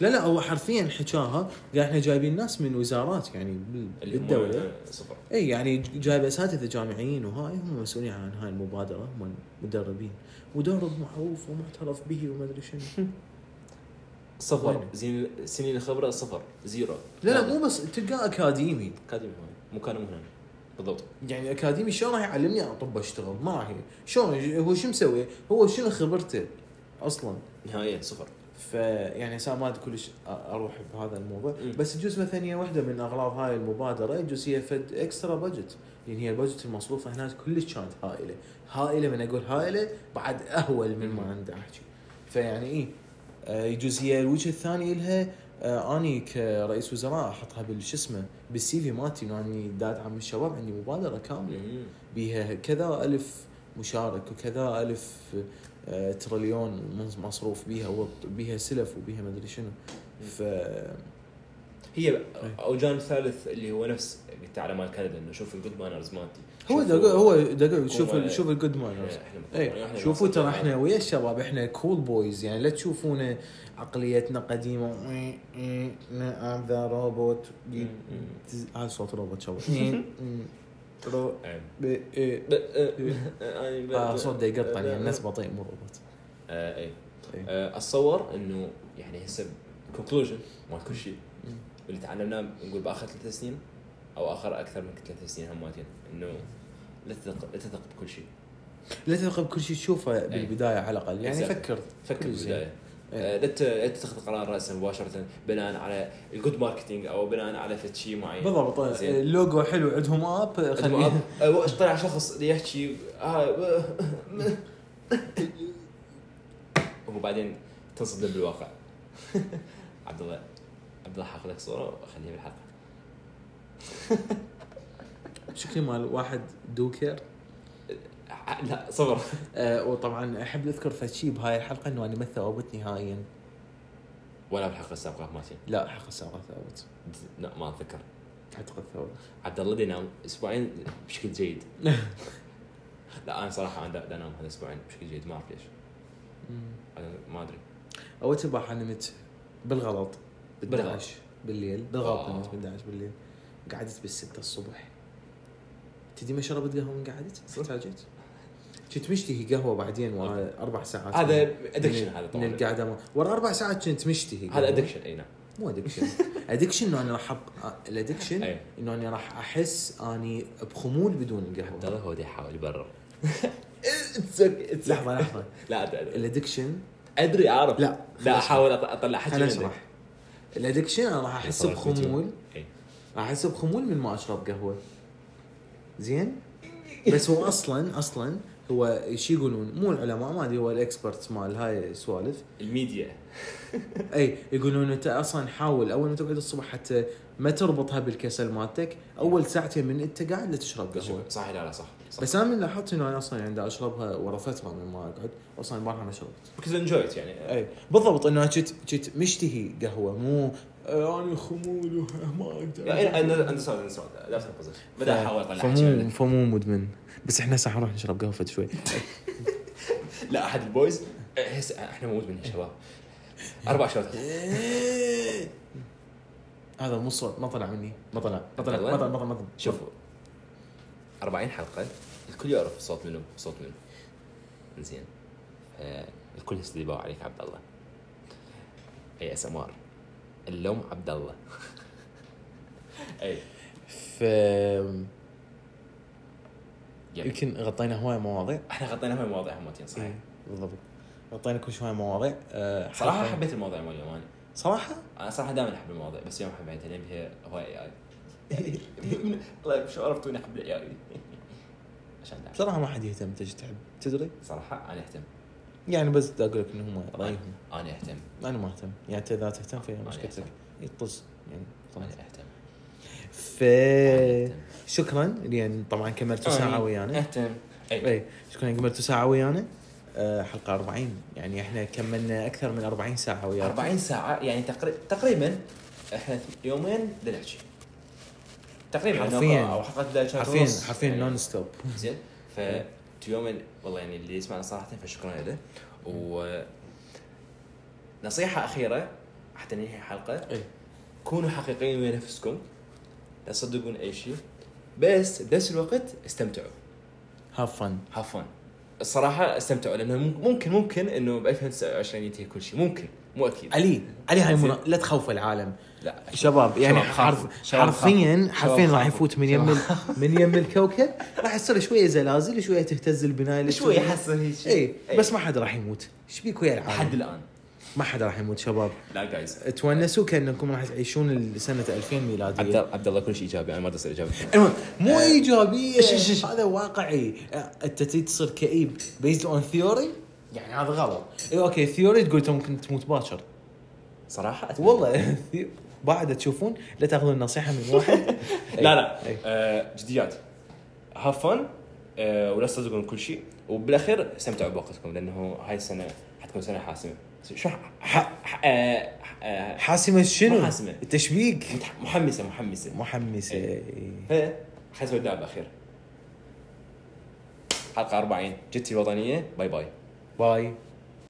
لا لا هو حرفيا حكاها قال احنا جايبين ناس من وزارات يعني بال-
اللي هم
بالدوله
صفر
اي يعني ج- جايب اساتذه جامعيين وهاي هم مسؤولين عن هاي المبادره هم المدربين مدرب معروف ومعترف به وما ادري شنو
صفر
وين؟
زين سنين خبره صفر زيرو
لا لا مو بس تلقاه اكاديمي
اكاديمي هاي مكانه هنا بالضبط
يعني اكاديمي شلون راح يعلمني اطب اشتغل؟ ما راح ي- شلون هو شو مسوي؟ هو شنو خبرته اصلا؟
نهائيا صفر
فيعني سام ما أدري كلش أ- اروح بهذا الموضوع
مم.
بس يجوز مثلا هي واحده من اغراض هاي المبادره يجوز هي فد اكسترا بادجت لان هي البادجت المصروفه هناك كلش كانت هائله هائله من اقول هائله بعد اهول من ما عنده احكي فيعني اي آه، يجوز هي الوجه الثاني لها آه، اني كرئيس وزراء احطها بالش اسمه بالسي في مالتي انه اني داد عم الشباب عندي مبادره كامله
مم.
بها كذا ألف مشارك وكذا ألف آه، تريليون من- مصروف بيها وبيها سلف وبيها ما ادري شنو ف
هي
إيه.
او جانب ثالث اللي هو نفس قلت على مال كندا انه شوف الجود مانرز مالتي
هو دا
شوفوا-
هو دا يقول شوف
هو-
ال- شوف الجود
إحنا-
مانرز
إحنا-
اي
إحنا يعني.
شوفوا ترى
ناقصين.
احنا ويا الشباب احنا كول بويز يعني لا تشوفونا عقليتنا قديمه ام ذا روبوت
مم. مم.
هذا صوت روبوت شباب رو-
أم.
ب- إيه.
ب- أه، أه، أه،
آه، صوت دا يقطع
أه،
يعني الناس بطيء مو روبوت
آه، اي
إي.
آه، اتصور انه يعني هسه كونكلوجن مال كل شيء
مم.
اللي تعلمناه نقول باخر ثلاث سنين او اخر اكثر من ثلاث سنين هماتين انه لا تثق لا تثق بكل شيء
لا تثق بكل شيء تشوفه بالبدايه على الاقل يعني
Exactly.
فكر
إيه. فكر
كل شيء. إيه.
بالبدايه آه، لا ت- لا تتخذ قرار راسا مباشره بناء على الجود ماركتينج او بناء على فد شيء معين
إيه. بالضبط
إيه، زين.
اللوجو حلو عندهم اب
خليه
خليه
طلع شخص يحكي آه، وبعدين تنصدم بالواقع عبد الله عبد الله حاخذ لك صوره واخليها بالحلقه
شكلي مال واحد دوكر
ع- آه، لا صبر
أه وطبعا احب اذكر فشي بهاي الحلقه انه انا ما ثوابت نهائيا
ولا بالحلقه السابقه مالتي
لا حق الساعه ثابت
لا ما اتذكر
اعتقد ثوابت
عبد الله ينام اسبوعين بشكل جيد لا انا صراحه انا انام هذا اسبوعين بشكل جيد ما اعرف ليش
أمم.
أنا ما ادري
اول تبع انا نمت بالغلط
بالغلط.
12 بالليل بالغلط
آه.
نمت 11 بالليل قعدت بالستة الصبح تدري ما شربت قهوه من قعدت؟ احتاجت كنت مشتهي قهوه بعدين ورا اربع ساعات
هذا
من-
ادكشن
من-
هذا
من
طبعا
القعده ما- ورا اربع ساعات كنت مشتهي
هذا ادكشن اي نعم
مو ادكشن ادكشن انه انا راح آه، أبقى الادكشن
اي
انه انا راح احس اني بخمول بدون
عبد
القهوه
الله هو دا يحاول يبرر
لحظه لحظه
لا أدري- ادري
الادكشن
ادري اعرف
لا
لا احاول أط- اطلع حكي
خليني
منك.
اشرح الادكشن انا راح احس
صار
بخمول
فيديو. إي.
راح احس بخمول من ما اشرب قهوه زين بس هو اصلا اصلا هو شي يقولون مو العلماء ما ادري هو الاكسبرتس مال هاي السوالف
الميديا
اي يقولون انت اصلا حاول اول ما تقعد الصبح حتى ما تربطها بالكسل مالتك اول ساعتين من انت قاعد لا تشرب قهوه
صح لا لا صح صح.
بس انا من لاحظت انه انا اصلا عندي اشربها يعني ورا فتره من ما اقعد اصلا ما ما شربت
بكز انجويت يعني
اي بالضبط انه كنت كنت مشتهي قهوه مو آه، انا خمول وه- ما اقدر
يعني انا انا صار انا صار لا تنقذ بدا احاول اطلع حكي
فمو
منك.
فمو مدمن بس احنا ساعه نروح نشرب قهوه فد شوي
لا احد البويز هسه احنا موجود من الشباب اربع شوتات
هذا مو صوت ما طلع مني ما طلع ما طلع ما طلع ما طلع ما طلع
شوفوا 40 حلقه الكل يعرف صوت منو صوت منو زين آه، الكل يستدعوا عليك عبد الله اي اس ام ار اللوم عبد الله اي
ف
يب.
يمكن غطينا هواي مواضيع إيه،
احنا غطينا هاي المواضيع همتين صحيح
بالضبط غطينا كل شوي مواضيع آه،
صراحه
حلقة-
حبيت المواضيع مال اليوم انا
صراحه
انا صراحه دائما احب المواضيع بس يوم حبيتها لان فيها هواي اي والله طيب، شو عرفتوني احب عيالي عشان دعم.
بصراحه ما حد يهتم انت ايش تحب تدري
صراحه انا اهتم
يعني بس بدي اقول لك ان هم رايهم
انا اهتم
انا ما اهتم يعني انت اذا تهتم فهي
أنا
مشكلتك
أهتم.
إي، طز يعني
انا
طز.
اهتم
ف يعني
أنا أهتم.
شكرا لان طبعا كملتوا
آه، يعني
ساعه ويانا طيب،
اهتم اي
اي شكرا كملتوا ساعه ويانا آه، حلقه 40 يعني احنا كملنا اكثر من 40 ساعه وياك
40 ساعه يعني تقريبا تقريبا احنا يومين بنحكي تقريبا عندنا
حرفياً.
او حلقه ثلاث شهور
حرفيا
ونص.
حرفيا
يعني.
نون ستوب
زين ف يومين والله يعني اللي يسمعنا صراحه فشكرا له و نصيحه اخيره حتى ننهي الحلقه
إيه.
كونوا حقيقيين ويا نفسكم لا تصدقون اي شيء بس بنفس الوقت استمتعوا
هاف فن
هاف الصراحه استمتعوا لانه مم- ممكن ممكن انه ب 2029 ينتهي كل شيء ممكن مو اكيد
علي علي هاي
زين.
منا- لا تخوف العالم
لا
شباب يعني
شباب خافوا.
حرف
شباب
حرفيا
خافوا.
حرفيا
شباب
راح
خافوا.
يفوت من يم ال- من يم الكوكب راح يصير شويه زلازل شويه تهتز البنايه اللي
شوي
تسويها.
حصل هيك
اي بس ما حد راح يموت ايش بيك ويا العالم
لحد الان
ما حد راح يموت شباب
لا جايز
تونسوا كانكم راح تعيشون سنه 2000 ميلاديه
عبد الله كلش ايجابي انا ما ادري ايجابي
المهم مو ايجابيه
آه. إيش- إيش- إيش؟
هذا واقعي آه، انت تيجي تصير كئيب بيزد اون ثيوري يعني هذا غلط اي اوكي ثيوري تقول تو ممكن تموت باكر
صراحه أتمنى.
والله ثي- بعد تشوفون لا تاخذون النصيحه من واحد إيه.
لا لا
أي.
آه، جديات هاف فن ولا تصدقون كل شيء وبالاخير استمتعوا بوقتكم لانه هاي السنه حتكون سنه حاسمه شو ح- ح- ح- آه، ح- آه،
حاسمه شنو؟
مو حاسمة.
التشبيك
متح- محمسه محمسه
محمسه
إي.
إي.
خلينا نسوي الدعاء بالاخير حلقه 40 جتي الوطنيه باي باي
باي